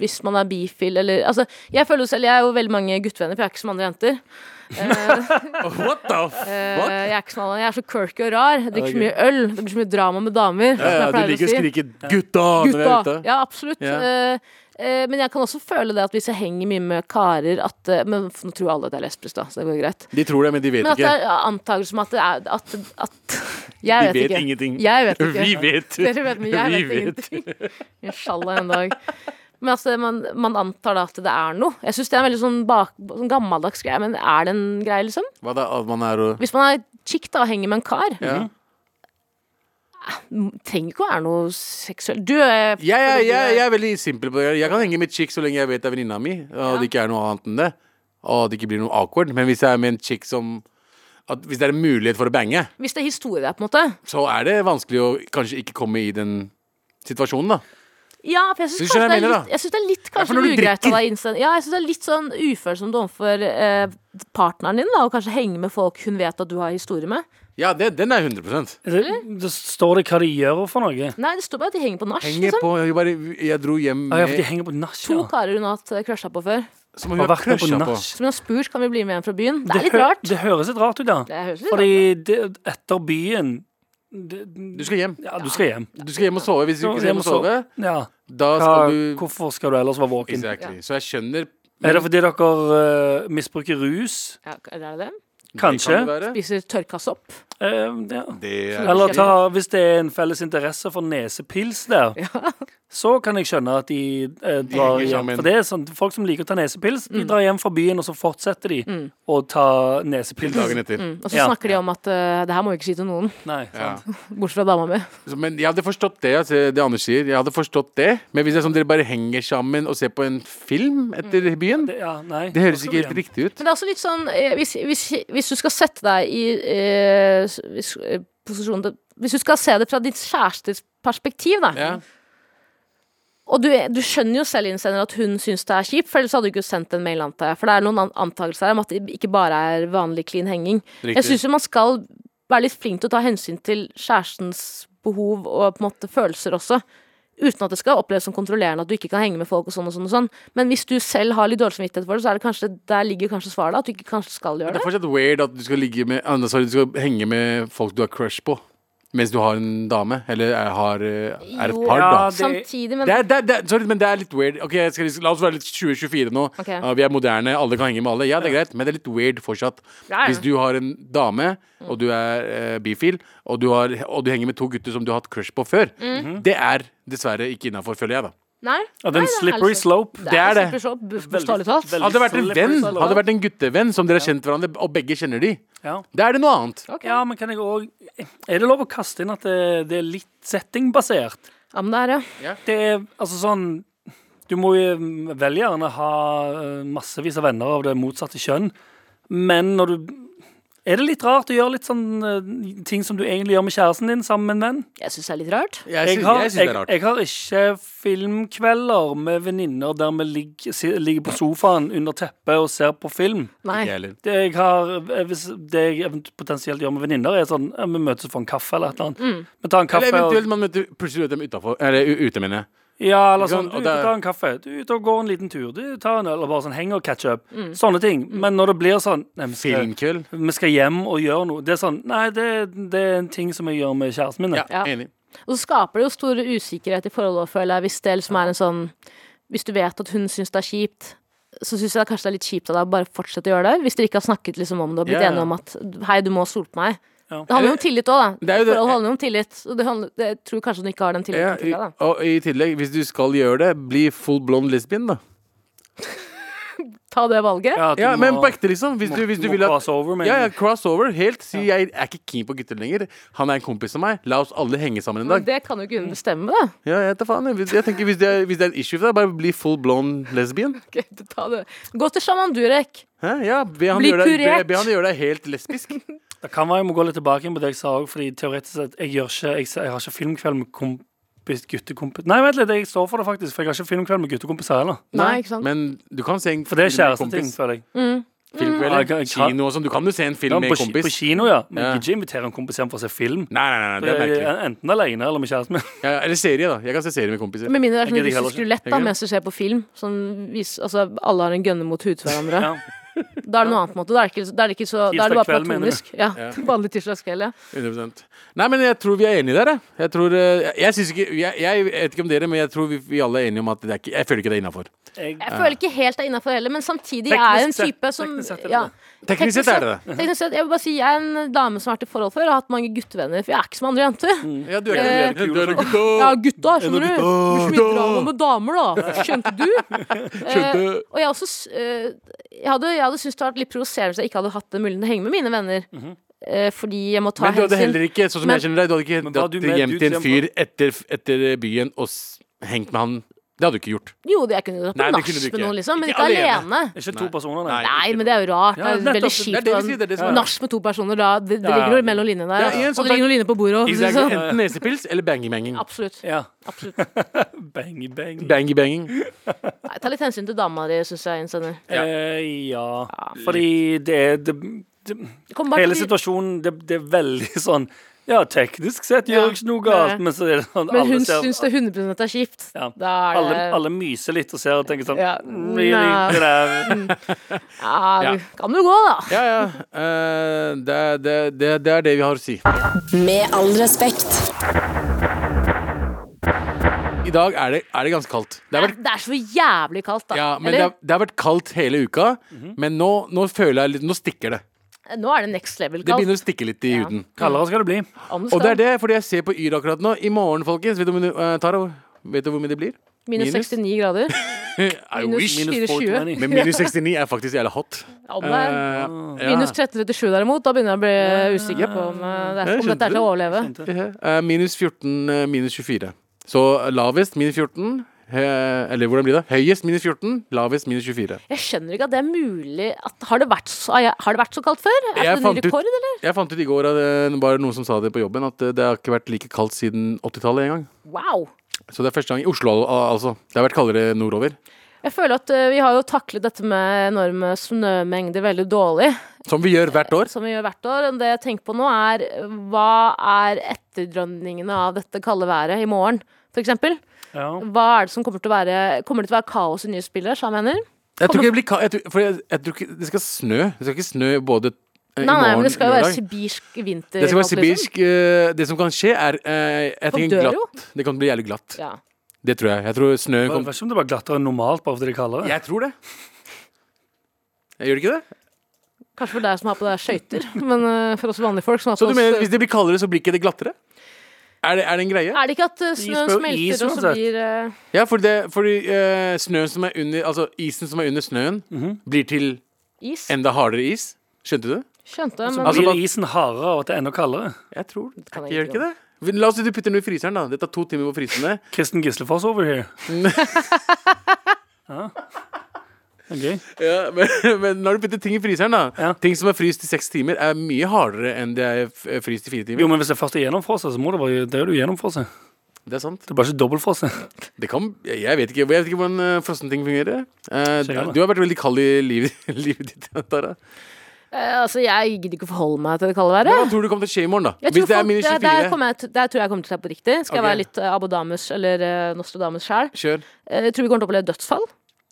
Speaker 4: hvis man er bifil eller Altså, jeg føler jo selv Jeg er jo veldig mange guttevenner, for jeg er ikke som andre jenter.
Speaker 3: What the fuck?
Speaker 4: Eh, jeg er ikke sånn, jeg er så quirky og rar. Jeg drikker så mye øl. Det blir så mye drama med damer. som jeg
Speaker 3: Ja, ja,
Speaker 4: pleier
Speaker 3: du liker å
Speaker 4: si.
Speaker 3: skrike 'gutta' når vi er
Speaker 4: Gutta!
Speaker 3: ute.
Speaker 4: Ja, absolutt.
Speaker 3: Ja.
Speaker 4: Eh, eh, men jeg kan også føle det at hvis jeg henger mye med karer at eh, Men f- nå tror alle at jeg er lesbisk, da, så det går greit.
Speaker 3: De tror det, men de vet
Speaker 4: Men at det
Speaker 3: ikke.
Speaker 4: er antakelser om at det er at, at
Speaker 3: De
Speaker 4: Jeg vet,
Speaker 3: vet
Speaker 4: ikke.
Speaker 3: ingenting.
Speaker 4: Jeg vet ikke.
Speaker 3: Vi vet.
Speaker 4: Dere vet, men jeg
Speaker 3: Vi
Speaker 4: vet ingenting. Inshallah en dag. Men altså, man, man antar da at det er noe. Jeg syns det er en veldig sånn, bak, sånn gammeldags greie, men er det en greie, liksom?
Speaker 3: Hva da, at man er og
Speaker 4: Hvis man er chick da og henger med en kar,
Speaker 3: ja.
Speaker 4: m- trenger ikke å være noe seksuell Du er
Speaker 3: jeg, jeg, jeg, jeg er veldig simpel på det. Jeg kan henge med chick så lenge jeg vet det er venninna mi, og det ikke er noe annet enn det. Og det ikke blir noe awkward. Men hvis jeg er med en chick som at Hvis det er en mulighet for å bange,
Speaker 4: Hvis det er historie, på en måte.
Speaker 3: så er det vanskelig å kanskje ikke komme i den situasjonen, da.
Speaker 4: Ja, for jeg
Speaker 3: Synes
Speaker 4: syns
Speaker 3: du
Speaker 4: kanskje,
Speaker 3: jeg
Speaker 4: det er
Speaker 3: mener,
Speaker 4: litt- jeg synes det er litt
Speaker 3: for
Speaker 4: kanskje
Speaker 3: når du
Speaker 4: ugreit av
Speaker 3: drikker-
Speaker 4: deg innsendt. Ja, jeg synes det er litt sånn ufølsomt overfor eh, partneren din, da, å kanskje henge med folk hun vet at du har historie med.
Speaker 3: Ja, det, den er 100
Speaker 5: Da står det hva de gjør for noe.
Speaker 4: Nei, det står bare at de henger på nach,
Speaker 3: Henger
Speaker 4: liksom.
Speaker 3: på Jeg, bare, jeg dro hjem
Speaker 5: Ah, ja, for
Speaker 3: med
Speaker 5: de henger på nach,
Speaker 4: To
Speaker 5: ja.
Speaker 4: karer hun har hatt eh, crusha på før.
Speaker 3: Som hun har
Speaker 5: Og vært med på
Speaker 3: crusha på.
Speaker 5: nach.
Speaker 4: Som hun har spurt kan vi bli med hjem fra byen. Det er litt
Speaker 5: hø-
Speaker 4: rart.
Speaker 5: Det høres litt rart ut, ja.
Speaker 4: Det høres litt
Speaker 5: Fordi det, etter byen det,
Speaker 3: Du skal hjem.
Speaker 5: Ja, du skal hjem.
Speaker 3: Du skal hjem og sove. Hvis du ikke skal hjem og
Speaker 5: sove.
Speaker 3: sove,
Speaker 5: Ja.
Speaker 3: da
Speaker 5: Hva,
Speaker 3: skal du
Speaker 5: Hvorfor skal du ellers være våken?
Speaker 3: Exactly. Så jeg skjønner
Speaker 5: Er det fordi dere eh, misbruker rus?
Speaker 4: Ja, er det det?
Speaker 5: Kanskje.
Speaker 3: Det kan det være.
Speaker 4: Spiser tørrkassopp.
Speaker 5: Eh, ja.
Speaker 3: Det er-
Speaker 5: Eller ta, hvis det er en felles interesse for nesepils der, så kan jeg skjønne at de eh,
Speaker 3: henger
Speaker 5: drar hjem.
Speaker 3: sammen. Mm.
Speaker 5: For det er sånn, Folk som liker å ta nesepils, de drar hjem fra byen, og så fortsetter de å ta nesepils.
Speaker 3: dagen etter.
Speaker 4: Og så
Speaker 5: Ja.
Speaker 4: snakker de om at eh, det her må vi ikke si til noen,
Speaker 5: Nei,
Speaker 3: Ja.
Speaker 5: sant.
Speaker 4: bortsett fra dama mi.
Speaker 3: Så, Men jeg hadde forstått det, altså, det Anders sier. Jeg hadde forstått det Men hvis det er sånn dere bare henger sammen og ser på en film etter byen
Speaker 5: Det, Mm. ja, nei.
Speaker 3: Det høres
Speaker 5: Da skal
Speaker 3: ikke
Speaker 5: du
Speaker 3: helt
Speaker 5: hjem.
Speaker 3: riktig ut.
Speaker 4: Men det er også litt sånn eh, Hvis, hvis, hvis du skal sette deg i eh, s- hvis, eh, posisjonen til Hvis du skal se det fra ditt kjærestes perspektiv, da,
Speaker 3: Ja.
Speaker 4: Og du, du skjønner jo selv innsender at hun syns det er kjipt, for ellers hadde du ikke sendt en mail, antar jeg. For det er noen an- antakelser her om at det ikke bare er vanlig clean henging.
Speaker 3: Riktig.
Speaker 4: Jeg syns jo man skal være litt flink til å ta hensyn til kjærestens behov og på en måte følelser også. Uten at det skal oppleves som kontrollerende at du ikke kan henge med folk og sånn og sånn. og sånn. Men hvis du selv har litt dårlig samvittighet for det, så er det kanskje, der ligger kanskje svaret. da, At du ikke kanskje skal gjøre
Speaker 3: Det
Speaker 4: det.
Speaker 3: er fortsatt weird at du skal, ligge med, ah, nei, sorry, du skal henge med folk du har crush på, mens du har en dame. Eller er, har, eh, er et
Speaker 4: Jo,
Speaker 3: par, da.
Speaker 5: ja, det-
Speaker 4: Samtidig, men
Speaker 3: Det er, det er, det er, sorry, men det er litt weird. Ok, jeg skal, La oss være litt 2024 nå.
Speaker 4: Ok.
Speaker 3: Ja, vi er moderne, alle kan henge med alle. Ja, det er greit, men det er litt weird fortsatt.
Speaker 4: Ja, ja.
Speaker 3: Hvis du har en dame, og du er eh, bifil, og du, har, og du henger med to gutter som du har hatt crush på før,
Speaker 4: Mhm.
Speaker 3: det er dessverre ikke innafor, føler jeg, da.
Speaker 4: Nei.
Speaker 5: Ja, det
Speaker 4: Nei,
Speaker 5: er en
Speaker 4: det er
Speaker 5: slippery
Speaker 4: helt-
Speaker 5: slope.
Speaker 4: Det er
Speaker 3: det.
Speaker 4: slippery slope,
Speaker 5: Veldig-
Speaker 4: Bokstavelig talt.
Speaker 5: veldig
Speaker 3: Hadde det vært en
Speaker 5: slippery
Speaker 3: venn,
Speaker 5: slope.
Speaker 3: hadde det vært en guttevenn som dere har kjent hverandre, og begge kjenner de,
Speaker 5: Ja.
Speaker 3: da er det noe annet.
Speaker 5: Ja, men kan jeg òg Er det lov å kaste inn at det, det er litt settingbasert?
Speaker 4: Ja, men det er det.
Speaker 5: Det er altså sånn Du må jo vel gjerne ha eh, massevis av venner av det motsatte kjønn, men når du Er det litt rart å gjøre litt sånn eh, ting som du egentlig gjør med kjæresten din sammen med en venn?
Speaker 4: Jeg syns det er litt rart.
Speaker 3: Jeg syns
Speaker 5: har,
Speaker 3: jeg syns det er rart.
Speaker 5: jeg har ikke filmkvelder med venninner der vi ligger, si- ligger på sofaen under teppet og ser på film.
Speaker 4: Nei.
Speaker 3: Jeg heller.
Speaker 5: Det jeg har eh, hvis Det jeg event- potensielt gjør med venninner, er sånn eh, Vi møtes for en kaffe eller et eller annet. Vi tar en
Speaker 3: Mm. Eller
Speaker 5: kaffe og
Speaker 3: eventuelt man møter plutselig møter dem utenfor, eller u- ute, mener jeg.
Speaker 5: Ja, eller
Speaker 3: Ikke sant?
Speaker 5: sånn, du
Speaker 3: Og
Speaker 5: du
Speaker 3: det-
Speaker 5: tar en kaffe, du er ute og går en liten tur, du tar en øl og bare sånn henger og catch up. Sånne ting. Men når det blir sånn nei, vi, skal,
Speaker 3: Filmkveld.
Speaker 5: vi skal hjem og gjøre noe. Det er sånn Nei, det, det er en ting som jeg gjør med kjæresten min.
Speaker 3: Ja,
Speaker 5: det.
Speaker 4: Ja.
Speaker 3: enig.
Speaker 4: Og så skaper det jo stor usikkerhet i forholdet, føler jeg, hvis det liksom er en sånn Hvis du vet at hun syns det er kjipt, så syns jeg kanskje det er litt kjipt av deg å bare fortsette å gjøre det. Hvis dere ikke har snakket liksom om det og blitt
Speaker 3: Ja, ja.
Speaker 4: enige om at hei, du må stole på meg.
Speaker 5: Ja.
Speaker 4: Det handler jo om tillit òg, da.
Speaker 3: Det er jo det-
Speaker 4: Forhold handler jo om tillit. Og det, handler, det jeg tror kanskje hun ikke har den
Speaker 3: Ja,
Speaker 4: tilliten
Speaker 3: i,
Speaker 4: til deg, da.
Speaker 3: og i tillegg, hvis du skal gjøre det, bli full blond lesbian, da.
Speaker 4: Ta det valget.
Speaker 5: Ja, at du
Speaker 3: Ja, men
Speaker 5: må-
Speaker 3: på ekte, liksom. Hvis du, hvis du
Speaker 5: må
Speaker 3: vil at
Speaker 5: cross over, mener
Speaker 3: ja, ja,
Speaker 5: du?
Speaker 3: crossover. Helt. Si jeg er ikke keen på gutter lenger. Han er en kompis av meg. La oss alle henge sammen en
Speaker 4: Men
Speaker 3: dag.
Speaker 4: det kan jo ikke hun bestemme, da.
Speaker 3: Ja, jeg tar faen. jeg. Hvis- Jeg tenker, hvis det er, hvis det er en issue for deg, bare bli full blond lesbian.
Speaker 4: Ok, ta det. Gå til sjaman Durek.
Speaker 3: Hæ? Ja, be han,
Speaker 4: Bli
Speaker 3: gjøre deg, be,
Speaker 4: kurert.
Speaker 3: be han gjøre deg helt lesbisk.
Speaker 5: Det kan være jeg må gå litt tilbake inn på det jeg sa òg, fordi teoretisk sett jeg, gjør ikke, jeg, jeg har ikke filmkveld med kompis, guttekompis Nei, vent litt, jeg står for det faktisk, for jeg har ikke filmkveld med guttekompiser heller.
Speaker 4: Nei, ikke sant.
Speaker 3: Men du kan se en
Speaker 5: For det er
Speaker 3: film med
Speaker 5: kjæresteting,
Speaker 3: kompis.
Speaker 5: føler jeg.
Speaker 4: Mm.
Speaker 5: Ja, jeg
Speaker 3: Filmkvelder,
Speaker 5: kan- jeg kan-
Speaker 3: kino og sånn. Du kan jo se en
Speaker 5: Ja,
Speaker 3: film med
Speaker 5: på,
Speaker 3: en
Speaker 5: ki- på
Speaker 3: kompis.
Speaker 5: kino, ja. Men
Speaker 3: Ja.
Speaker 5: jeg kan ikke invitere en kompis hjem for å se film.
Speaker 3: Nei, nei, nei, nei, det er merkelig.
Speaker 5: Enten alene eller med kjæresten min.
Speaker 3: Ja, ja, eller serie, da. Jeg kan se serie med kompiser.
Speaker 4: Med mindre det er sånn
Speaker 5: Jeg gidder ikke
Speaker 4: russisk
Speaker 5: heller
Speaker 4: rulett da,
Speaker 3: Jeg
Speaker 4: mens du ser på film. Sånn, vis, altså, alle har en gønne mot huet til hverandre.
Speaker 5: Ja.
Speaker 4: Da er det noe annet. på en måte Da er det, ikke, da er det, ikke så, da er det bare
Speaker 5: Tirsdag kveld, mener du?
Speaker 4: platonisk. Ja, Vanlig tirsdagskveld, ja.
Speaker 3: 100% Nei, men jeg tror vi er enige der, jeg. Jeg, tror, eh, jeg, jeg, synes ikke, jeg, jeg vet ikke om dere, men jeg tror vi, vi alle er enige om at det er ikke, jeg føler ikke det er innafor.
Speaker 5: Jeg,
Speaker 4: Jeg føler ikke helt det er innafor heller, men samtidig jeg er
Speaker 5: Teknisk
Speaker 4: en
Speaker 5: sett-
Speaker 4: type som
Speaker 5: teknisk sett er det
Speaker 4: ja.
Speaker 5: det.
Speaker 3: Teknisk sett er det det.
Speaker 4: Teknisk sett, jeg vil bare si jeg er en dame som har vært i forhold før og har hatt mange guttevenner. For jeg er ikke som andre jenter.
Speaker 5: Mm.
Speaker 3: Ja, du er ikke
Speaker 4: Eh,
Speaker 3: du er- du er- du er-
Speaker 4: Ja, gutta, skjønner du. Hvor mye drama med damer, da? Skjønte du? Eh, og jeg har også s- eh, Jeg hadde, jeg hadde syntes det hadde vært litt provoserende hvis jeg ikke hadde hatt den muligheten å henge med mine venner. eh, fordi jeg må ta
Speaker 3: Mhm. Men du hadde
Speaker 4: hensyn.
Speaker 3: heller ikke, sånn som
Speaker 4: Men-
Speaker 3: jeg kjenner deg, du hadde ikke
Speaker 5: Men var
Speaker 3: dratt
Speaker 5: du med
Speaker 3: hjem
Speaker 5: ut
Speaker 3: til en
Speaker 5: hjem
Speaker 3: fyr etter, etter byen og s- hengt med han. Det hadde du ikke gjort.
Speaker 4: Jo, det- jeg kunne dratt
Speaker 3: Nei,
Speaker 4: på
Speaker 3: det kunne du
Speaker 4: nach med
Speaker 3: ikke.
Speaker 4: noen, liksom, men
Speaker 3: Ikke
Speaker 4: ikke
Speaker 3: alene.
Speaker 4: alene.
Speaker 5: ikke to personer, nei.
Speaker 4: Nei, men det er jo rart.
Speaker 5: Ja,
Speaker 4: det er
Speaker 5: nettopp,
Speaker 4: veldig
Speaker 5: det
Speaker 3: Det er
Speaker 4: kjipt.
Speaker 3: det vi
Speaker 4: å
Speaker 3: sier. Det er det som er
Speaker 4: ha en Nach med to personer, da. Det, det
Speaker 5: Ja.
Speaker 4: ligger noe mellom linjene der.
Speaker 3: Ja, igjen,
Speaker 4: og
Speaker 3: sånn
Speaker 4: det ligger noen linjer på bordet òg.
Speaker 3: Exactly.
Speaker 4: Sånn.
Speaker 3: Enten nesepils eller bangy-banging.
Speaker 4: Absolutt.
Speaker 5: Ja.
Speaker 4: absolutt.
Speaker 5: Bang, bang.
Speaker 3: Bangy-banging.
Speaker 4: Nei, ta litt hensyn til dama di, syns jeg. Innsender.
Speaker 5: Ja. Eh, ja. Fordi det er det, det,
Speaker 4: Det kommer bare
Speaker 5: Hele
Speaker 4: til-
Speaker 5: situasjonen, det, det er veldig sånn Ja, teknisk sett gjør
Speaker 4: Ja,
Speaker 5: jeg ikke noe
Speaker 4: det er det.
Speaker 5: galt, men så er det sånn
Speaker 4: Men hun
Speaker 5: ser-
Speaker 4: syns det 100 er kjipt.
Speaker 5: ja.
Speaker 4: Da er det
Speaker 5: alle, alle myser litt og ser og tenker sånn
Speaker 4: Ja.
Speaker 5: really,
Speaker 4: Nei. Mm.
Speaker 5: det der.
Speaker 4: Ja,
Speaker 3: Ja.
Speaker 4: kan du gå, da.
Speaker 3: Ja, ja. Eh, det, er- det, er- det, er- det er det vi har å si.
Speaker 1: Med all respekt.
Speaker 3: I dag er det, er det ganske kaldt. Det har vært
Speaker 4: Det er så jævlig kaldt, da.
Speaker 3: Ja, men det
Speaker 4: Eller, Mhm.
Speaker 3: har, det har vært kaldt hele uka, men nå, nå føler jeg litt Nå stikker det.
Speaker 4: nå er det next level
Speaker 3: Det begynner
Speaker 4: kaldt.
Speaker 3: å stikke litt i huden.
Speaker 5: Kaldere skal det bli.
Speaker 4: Om det
Speaker 3: Og det er
Speaker 4: skal
Speaker 3: det, fordi jeg ser på Yr akkurat nå. I morgen, folkens, vet du, hvor mye- eh, Taro, vet du hvor mye det blir? Eh,
Speaker 4: minus 69 grader.
Speaker 3: I
Speaker 4: Minus
Speaker 3: wish.
Speaker 4: 420.
Speaker 5: 420.
Speaker 3: Men minus 69 er faktisk jævla hot.
Speaker 4: Om det er
Speaker 3: Eh, ja.
Speaker 4: minus 1337 derimot, da begynner jeg å bli usikker på om, eh, det
Speaker 3: Jeg
Speaker 4: er, om dette
Speaker 3: skjønte
Speaker 4: er til å overleve.
Speaker 3: Eh, minus 14, eh, minus 24. Så eh, lavest minus 14. eh, Eller hvordan blir det? Høyest minus 14, lavest minus 24.
Speaker 4: Jeg skjønner ikke at det er mulig at, har, det vært så, har det vært så kaldt før? Er det
Speaker 3: Jeg
Speaker 4: en
Speaker 3: fant
Speaker 4: ny
Speaker 3: ut-
Speaker 4: rekord, eller?
Speaker 3: Jeg fant ut i eh, går at det var noen som sa det på jobben, at eh, det har ikke vært like kaldt siden 80-tallet engang.
Speaker 4: Wow!
Speaker 3: Så det er første gang i Oslo, al- altså. Det har vært kaldere nordover.
Speaker 4: Jeg føler at eh, vi har jo taklet dette med enorme snømengder veldig dårlig,
Speaker 3: Som vi gjør hvert år.
Speaker 4: som vi gjør hvert år. Men det jeg tenker på nå, er eh, hva er etterdrønningene av dette kalde været i morgen, for eksempel?
Speaker 5: Ja.
Speaker 4: Hva er det som kommer til å være Kommer det til å være kaos i nye spillere, som jeg mener?
Speaker 3: Jeg tror ikke det blir kaldt. Jeg tror, for jeg, jeg tror ikke det skal snø. Det skal ikke snø både eh, i
Speaker 4: Nei, nei,
Speaker 3: morgen
Speaker 4: men det skal jo være
Speaker 3: lørdag.
Speaker 4: sibirsk vinter.
Speaker 3: Det skal være
Speaker 4: natt, liksom.
Speaker 3: sibirsk. eh, Det som kan skje, er eh, jeg
Speaker 4: Folk
Speaker 3: tenker
Speaker 4: dør jo.
Speaker 3: glatt. Det kan bli jævlig glatt.
Speaker 4: Ja.
Speaker 3: Det tror jeg. Jeg tror snø
Speaker 5: Jeg
Speaker 3: kommer
Speaker 5: vet ikke om det var glattere enn normalt bare fordi de kaller det.
Speaker 3: Jeg tror det. Jeg gjør det ikke det?
Speaker 4: Kanskje for deg som har på deg skøyter, men eh, for oss vanlige folk som har
Speaker 3: Så du
Speaker 4: på oss
Speaker 3: mener hvis det blir kaldere, så blir ikke det glattere? Er det, er det en greie?
Speaker 4: Er det ikke at eh, snøen
Speaker 5: Is bør-
Speaker 4: smelter,
Speaker 5: is
Speaker 4: og så
Speaker 5: uansett.
Speaker 4: blir eh,
Speaker 3: Ja, fordi, det, fordi eh, snøen som er under Altså isen som er under snøen, blir til
Speaker 4: is?
Speaker 3: enda hardere is. Skjønte du?
Speaker 4: Skjønte, men
Speaker 3: Altså,
Speaker 5: Blir
Speaker 3: bare-
Speaker 5: isen hardere av at det er enda kaldere?
Speaker 3: Jeg tror det.
Speaker 4: kan jeg
Speaker 3: Gjør det
Speaker 4: ikke
Speaker 3: ikke det? La oss si du putter den i fryseren, da. Det tar to timer på å fryse den. ned.
Speaker 5: Kristen Gislefoss over here. ja. Det er gøy.
Speaker 3: Ja, men, men når du putter ting i fryseren, da
Speaker 5: Ja.
Speaker 3: Ting som er fryst i seks timer, er mye hardere enn det er f- eh, fryst i fire timer.
Speaker 5: Jo, men hvis det først er gjennomfrosset, så må det være det er jo gjennomfrosset.
Speaker 3: Det er sant.
Speaker 5: Det er bare ikke dobbeltfrosset.
Speaker 3: Det kan Jeg jeg vet ikke, jeg vet ikke hvordan eh, frosne ting fungerer. Eh,
Speaker 5: Skjer det.
Speaker 3: du har vært veldig kald i livet, livet ditt, Tara.
Speaker 4: Eh, altså, jeg gidder ikke å forholde meg til det kalde været.
Speaker 3: Men Hva tror du kommer til å skje i morgen, da?
Speaker 4: Jeg
Speaker 3: Hvis
Speaker 4: tror
Speaker 3: det er
Speaker 4: folk-
Speaker 3: minus
Speaker 4: der-
Speaker 3: 24?
Speaker 4: Der, kommer jeg, til- der tror jeg jeg kommer til å se på riktig. Skal jeg
Speaker 3: Ok.
Speaker 4: være litt eh, Abodamus eller eh, Nostradamus sjæl?
Speaker 3: Kjør.
Speaker 4: Eh, jeg tror vi kommer til å oppleve dødsfall.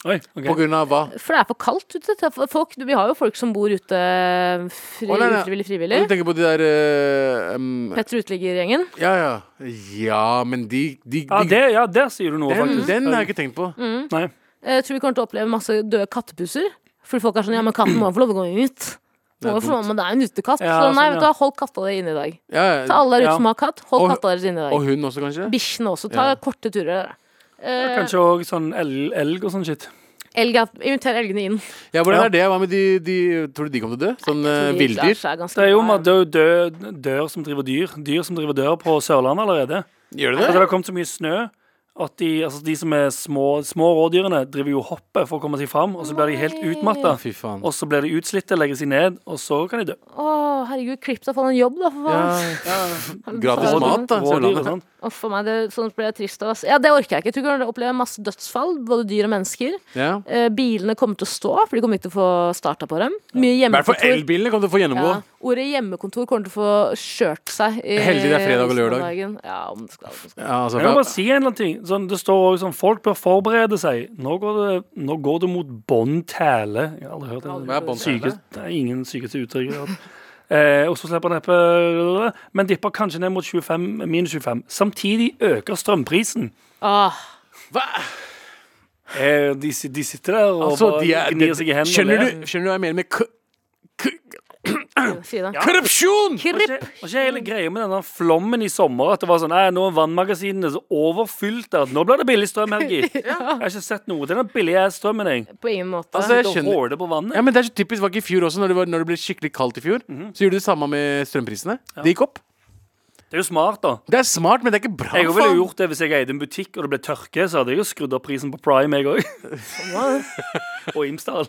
Speaker 5: Oi, ok.
Speaker 3: På grunn av hva?
Speaker 4: For det er for kaldt ute. til Folk, vi har jo folk som bor ute eh, fri,
Speaker 3: Å, nei, nei.
Speaker 4: ufrivillig
Speaker 3: Du
Speaker 4: frivillig.
Speaker 3: tenker på de der eh, um,
Speaker 4: Petter Uteligger-gjengen.
Speaker 3: Ja, ja. Ja, men de, de, de
Speaker 5: Ja, det, ja, der sier du noe,
Speaker 3: den, Mhm.
Speaker 5: faktisk.
Speaker 3: den har jeg ikke tenkt på.
Speaker 5: Nei.
Speaker 4: Eh, Jeg tror vi kommer til å oppleve masse døde kattepusser. Fordi folk er sånn Ja, men katten må jo få lov å gå ut.
Speaker 3: er
Speaker 4: Må jo få
Speaker 3: dumt.
Speaker 4: lov- Men det er en utekatt.
Speaker 5: Ja,
Speaker 4: så nei,
Speaker 5: sånn,
Speaker 4: vet
Speaker 5: ja.
Speaker 4: du hva, hold katta di inne i dag.
Speaker 3: Ja,
Speaker 4: Til
Speaker 3: ja.
Speaker 4: alle der ute
Speaker 5: Ja.
Speaker 4: som har katt, hold
Speaker 3: Og-
Speaker 4: katta deres inne i dag.
Speaker 3: Og hun også, kanskje?
Speaker 4: Bikkjene også. Ta
Speaker 3: Ja.
Speaker 4: korte turer. Eh,
Speaker 5: Kanskje òg sånn el elg og sånn shit.
Speaker 4: elg er- Inviter elgene inn.
Speaker 3: Ja, hvordan
Speaker 5: Ja.
Speaker 3: er det? Hva med de, de Tror du de kommer til å dø? Sånn eh,
Speaker 4: De klarer
Speaker 3: villdyr?
Speaker 4: seg ganske
Speaker 5: Det er jo
Speaker 4: bra.
Speaker 5: det er jo død, dør som driver dyr. Dyr som driver dør på Sørlandet allerede.
Speaker 3: Gjør de
Speaker 5: Altså,
Speaker 3: det?
Speaker 5: det har kommet så mye snø at de, altså, de som er små, små rådyrene, driver jo hoppet for å komme seg fram, og så blir de helt utmatta.
Speaker 3: Fy faen.
Speaker 5: Og så blir de utslitte, legger seg ned, og så kan de dø.
Speaker 4: Å, herregud, Krypta får en jobb, da, for
Speaker 3: Ja.
Speaker 4: faen.
Speaker 3: Gratis
Speaker 4: Rådyr-
Speaker 3: mat, da.
Speaker 5: Rådyr og
Speaker 3: Sørlandet.
Speaker 5: sånn.
Speaker 4: Å, for meg, det, sånn blir jeg trist av. ass. Ja, det orker jeg ikke. Jeg tror vi kommer til å oppleve masse dødsfall, både dyr og mennesker.
Speaker 3: Ja.
Speaker 4: Eh, bilene kommer til å stå, for de kommer ikke til å få starta på dem. Mye
Speaker 3: I hvert fall
Speaker 4: hjemmekontor.
Speaker 3: elbilene kommer til å få gjennomgå.
Speaker 4: Ja. Ordet hjemmekontor kommer til å få skjørt seg. i-
Speaker 3: Heldig det er fredag og lørdag.
Speaker 4: dagen. Ja, om det skal, om det skal.
Speaker 3: Ja, altså,
Speaker 5: Jeg må
Speaker 3: for-
Speaker 5: bare si en eller annen ting. Sånn, det står også sånn Folk bør forberede seg. Nå går det, nå går det mot bånn tæle. Jeg har aldri hørt det.
Speaker 3: Hva er bånn tæle?
Speaker 5: Syke, det er ingen sykeste uttrykk. jeg har hørt. Eh, Oslo slipper neppe Men dipper kanskje ned mot 25, minus 25. Samtidig øker strømprisen.
Speaker 4: Åh,
Speaker 5: Eh, de, si- de sitter der og
Speaker 3: altså, de
Speaker 5: bare
Speaker 3: er,
Speaker 5: gnir seg i hendene.
Speaker 3: skjønner,
Speaker 5: og
Speaker 3: du, skjønner du hva jeg mener med k k
Speaker 4: si det.
Speaker 3: korrupsjon?
Speaker 5: ler.
Speaker 4: Kripp!
Speaker 5: Og ikke- og ikke hele greia med denne flommen i sommer. At det var sånn, nei, Nå er vannmagasinene så overfylte at nå blir det billig strøm, Helgi. Jeg har ikke sett noe. Den billige strømmen, jeg.
Speaker 4: På ingen måte.
Speaker 3: Altså, jeg
Speaker 5: Det
Speaker 3: skjønner
Speaker 5: håler på vannet.
Speaker 3: Ja, men Det er så typisk var ikke i fjor også, når det, var, når det ble skikkelig kaldt i fjor. Så gjorde du det samme med strømprisene. Det gikk opp.
Speaker 5: Det er jo smart, da.
Speaker 3: Det er smart, men det er ikke bra.
Speaker 5: Jeg ville
Speaker 3: faen.
Speaker 5: gjort det hvis jeg eide en butikk og det ble tørke. Så hadde jeg jo skrudd opp prisen på Prime, jeg òg. og Imsdal.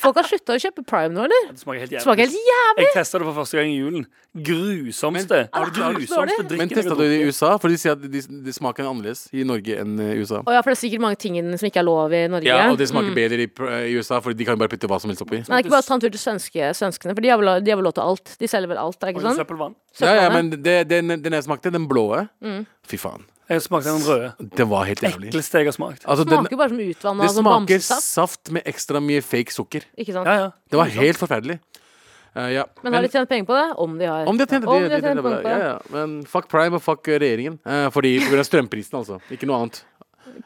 Speaker 4: Folk har slutta å kjøpe Prime nå, eller?
Speaker 5: Det smaker helt
Speaker 4: Det smaker helt
Speaker 5: jævlig.
Speaker 4: jævlig!
Speaker 5: Jeg testa det for første gang i julen. Grusomste.
Speaker 4: har du klart-
Speaker 5: grusomste
Speaker 4: dårlig?
Speaker 5: drikken
Speaker 3: Men
Speaker 5: jeg har
Speaker 3: testa du det i
Speaker 5: drukket.
Speaker 3: USA? For de sier at de, de smaker annerledes i Norge enn i USA.
Speaker 4: Og ja, for det er sikkert mange ting i den som ikke er lov i Norge. Mm.
Speaker 3: Ja, Og det smaker bedre i, pr- i USA, Fordi de kan jo bare putte hva som helst oppi.
Speaker 4: Men det er ikke bare å ta en tur til svenske, svenskene, for de har, vel, de har vel lov til alt. De selger vel alt, er det ikke
Speaker 5: Og
Speaker 4: sånn?
Speaker 5: søppelvann.
Speaker 3: Ja, ja,
Speaker 4: Søppelvannet.
Speaker 3: men det, den, den jeg smakte, den blåe
Speaker 4: Mm.
Speaker 3: Fy faen.
Speaker 5: Jeg smakte den røde.
Speaker 3: Det var helt jævlig.
Speaker 5: Ekleste jeg har smakt.
Speaker 3: Altså,
Speaker 4: Det
Speaker 3: den,
Speaker 4: smaker bare som utvanna
Speaker 3: det
Speaker 4: sånn
Speaker 3: smaker
Speaker 4: bamsesaft.
Speaker 3: saft med ekstra mye fake sukker.
Speaker 4: Ikke sant?
Speaker 5: Ja, ja.
Speaker 3: Det var helt forferdelig. Eh, ja.
Speaker 4: Men har de tjent penger på det? Om de har.
Speaker 3: Om de har tjent det,
Speaker 4: Om de har
Speaker 3: det, det,
Speaker 4: tjent
Speaker 3: det,
Speaker 4: penger på
Speaker 3: ja,
Speaker 4: det.
Speaker 3: ja. Men fuck Prime og fuck regjeringen. Eh, fordi Pga. strømprisen, altså. Ikke noe annet.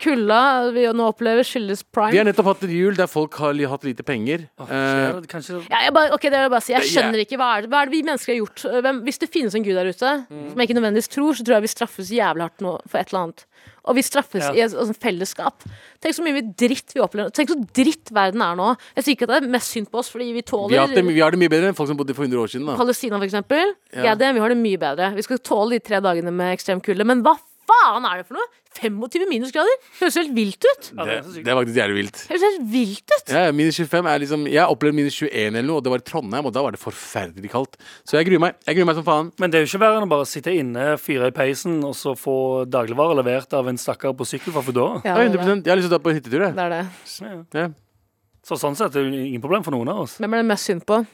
Speaker 4: Kulda vi nå opplever, skyldes prime.
Speaker 3: Vi har nettopp hatt et jul der folk har li- hatt lite penger. Eh,
Speaker 5: Skjer det kanskje
Speaker 4: Ja, jeg, bare, ok, det vil jeg bare si. jeg
Speaker 3: Det-
Speaker 4: skjønner ikke hva er, det, hva er det vi mennesker har gjort. Øh, Hvem, hvis det finnes en gud der ute,
Speaker 3: Mm.
Speaker 4: som jeg ikke nødvendigvis tror, så tror jeg vi straffes jævlig hardt nå for et eller annet. Og vi straffes
Speaker 5: Ja.
Speaker 4: i et altså, fellesskap. Tenk så mye vi dritt vi opplever. Tenk så dritt verden er nå. Jeg sier ikke at det er mest synd på oss, fordi
Speaker 3: vi,
Speaker 4: vi
Speaker 3: har hatt det,
Speaker 4: tåler
Speaker 3: vi har det mye bedre enn folk som bodde for 100 år siden. Da.
Speaker 4: Palestina, for eksempel. Ja. det, vi har det mye bedre. Vi skal tåle de tre dagene med ekstrem kulde. Men hva faen er det for noe? 25 minusgrader? Høres helt vilt ut.
Speaker 5: Ja,
Speaker 3: Det,
Speaker 5: er så sykt.
Speaker 3: det er faktisk jævlig vilt.
Speaker 4: Høres helt vilt ut.
Speaker 3: Ja, ja, minus 25 er liksom Jeg har opplevd minus 21 eller noe, og det var i Trondheim, og da var det forferdelig kaldt. Så jeg gruer meg. Jeg gruer meg som faen.
Speaker 5: Men det er jo ikke verre enn å bare sitte inne, fyre i peisen, og så få dagligvarer levert av en stakkar på sykkel fra Foodora.
Speaker 3: Ja, 100 Jeg har lyst til å dra på hyttetur, jeg.
Speaker 4: Det er det.
Speaker 3: Ja.
Speaker 5: Så sånn sett er det jo ingen problem for noen av oss.
Speaker 4: Hvem er det mest synd på?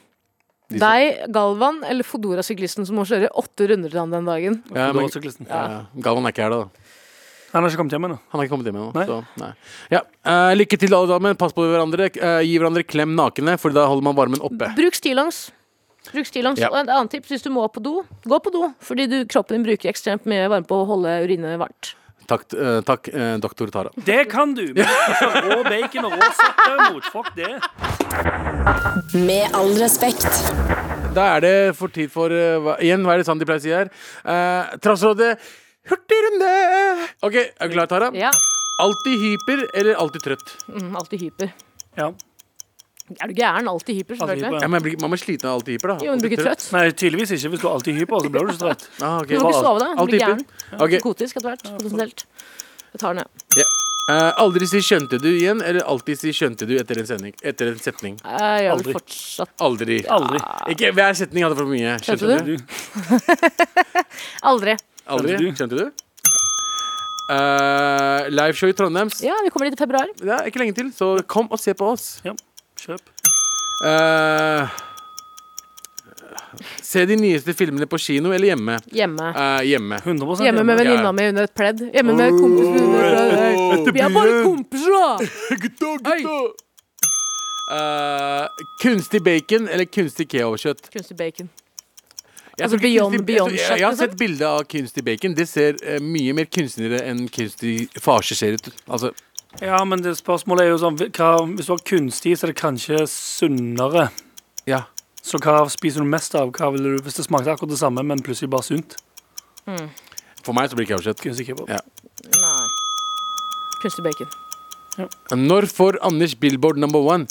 Speaker 3: De som-
Speaker 4: Deg, Galvan eller Fodora-syklisten som må kjøre åtte runder til ham den dagen?
Speaker 3: Ja, men,
Speaker 5: Foodora-syklisten.
Speaker 3: ja. Galvan er ikke her, da.
Speaker 5: Han har ikke kommet hjem ennå.
Speaker 3: Han har ikke kommet hjem ennå.
Speaker 5: Nei.
Speaker 3: så, Nei. Ja. eh, lykke til, alle sammen. Pass på hverandre. Eh, gi hverandre klem nakne, for da holder man varmen oppe.
Speaker 4: Bruk stillongs. Bruk stillongs.
Speaker 3: Ja.
Speaker 4: Og et annet tips hvis du må på do, gå på do. Fordi du, kroppen din bruker ekstremt mye varme på å holde urinet varmt.
Speaker 3: Takk, eh, takk eh, doktor Tara.
Speaker 5: Det kan du! Men altså, rå bacon og rå sopp er mot fuck det.
Speaker 1: Med all respekt.
Speaker 3: Da er det for tid for eh, hva, Igjen, hva er det sant de pleier å si her? Uh, Trassrådet Hurtigrunde! OK, er du klar, Tara?
Speaker 4: Ja.
Speaker 3: Alltid hyper eller alltid trøtt?
Speaker 4: Mm, alltid hyper.
Speaker 5: Ja.
Speaker 4: Er du gæren? Alltid hyper,
Speaker 5: Alltid hyper,
Speaker 4: selvfølgelig.
Speaker 5: ja.
Speaker 3: Ja, men jeg blir- Man må slite av alltid hyper, da.
Speaker 4: Jo, men du blir
Speaker 3: Alltid
Speaker 4: ikke trøtt.
Speaker 5: Nei, tydeligvis ikke. Hvis du er alltid hyper, så blir du så trøtt.
Speaker 3: Ah, ok.
Speaker 4: Du må ikke sove da. Du
Speaker 3: Alltid
Speaker 4: blir
Speaker 3: hyper.
Speaker 4: gæren.
Speaker 3: Ok,
Speaker 4: Psykotisk etter hvert, potensielt. Jeg tar den, jeg.
Speaker 3: eh, Aldri si 'skjønte du' igjen, eller alltid si 'skjønte du' etter en, sending, etter en setning.
Speaker 4: Jeg gjør
Speaker 5: Aldri.
Speaker 4: det fortsatt.
Speaker 3: Aldri.
Speaker 5: Aldri.
Speaker 3: Ikke hver setning hadde for mye. Skjønte,
Speaker 4: Skjønte
Speaker 3: du?
Speaker 5: Du,
Speaker 4: Aldri.
Speaker 3: Aldri.
Speaker 5: Skjønte du?
Speaker 3: Skjønte du? Eh, liveshow i Trondheim.
Speaker 4: Ja, vi kommer dit i februar.
Speaker 3: Det er ikke lenge til, så kom og se på oss.
Speaker 5: kjøp.
Speaker 3: Eh, se de nyeste filmene på kino eller hjemme.
Speaker 4: Hjemme.
Speaker 3: Eh, hjemme.
Speaker 5: 100
Speaker 4: Hjemme
Speaker 3: hjemme.
Speaker 4: med venninna mi under et pledd. Hjemme med kompisen min under et pledd. Vi er bare kompiser, da!
Speaker 3: Eh, kunstig bacon eller kunstig keoverkjøtt?
Speaker 4: Kunstig bacon.
Speaker 3: Jeg
Speaker 4: Altså
Speaker 3: tror ikke
Speaker 4: Beyond-
Speaker 3: kunstig-
Speaker 4: Beyond
Speaker 3: jeg, tror- jeg har
Speaker 4: kjøtt,
Speaker 3: sett bilde av kunstig bacon. Det ser eh, mye mer kunstnere enn kunstig farse ser ut. Altså,
Speaker 5: Ja, men det spørsmålet er jo sånn hva, Hvis du har kunstig, så er det kanskje sunnere.
Speaker 3: ja.
Speaker 5: Så hva spiser du mest av? Hva vil du, hvis det smakte akkurat det samme, men plutselig bare sunt?
Speaker 3: For meg så blir det keoverkjøtt.
Speaker 5: Kunstig kebab.
Speaker 3: Ja.
Speaker 4: Nei. Kunstig bacon.
Speaker 3: Når får Anders Billboard number one?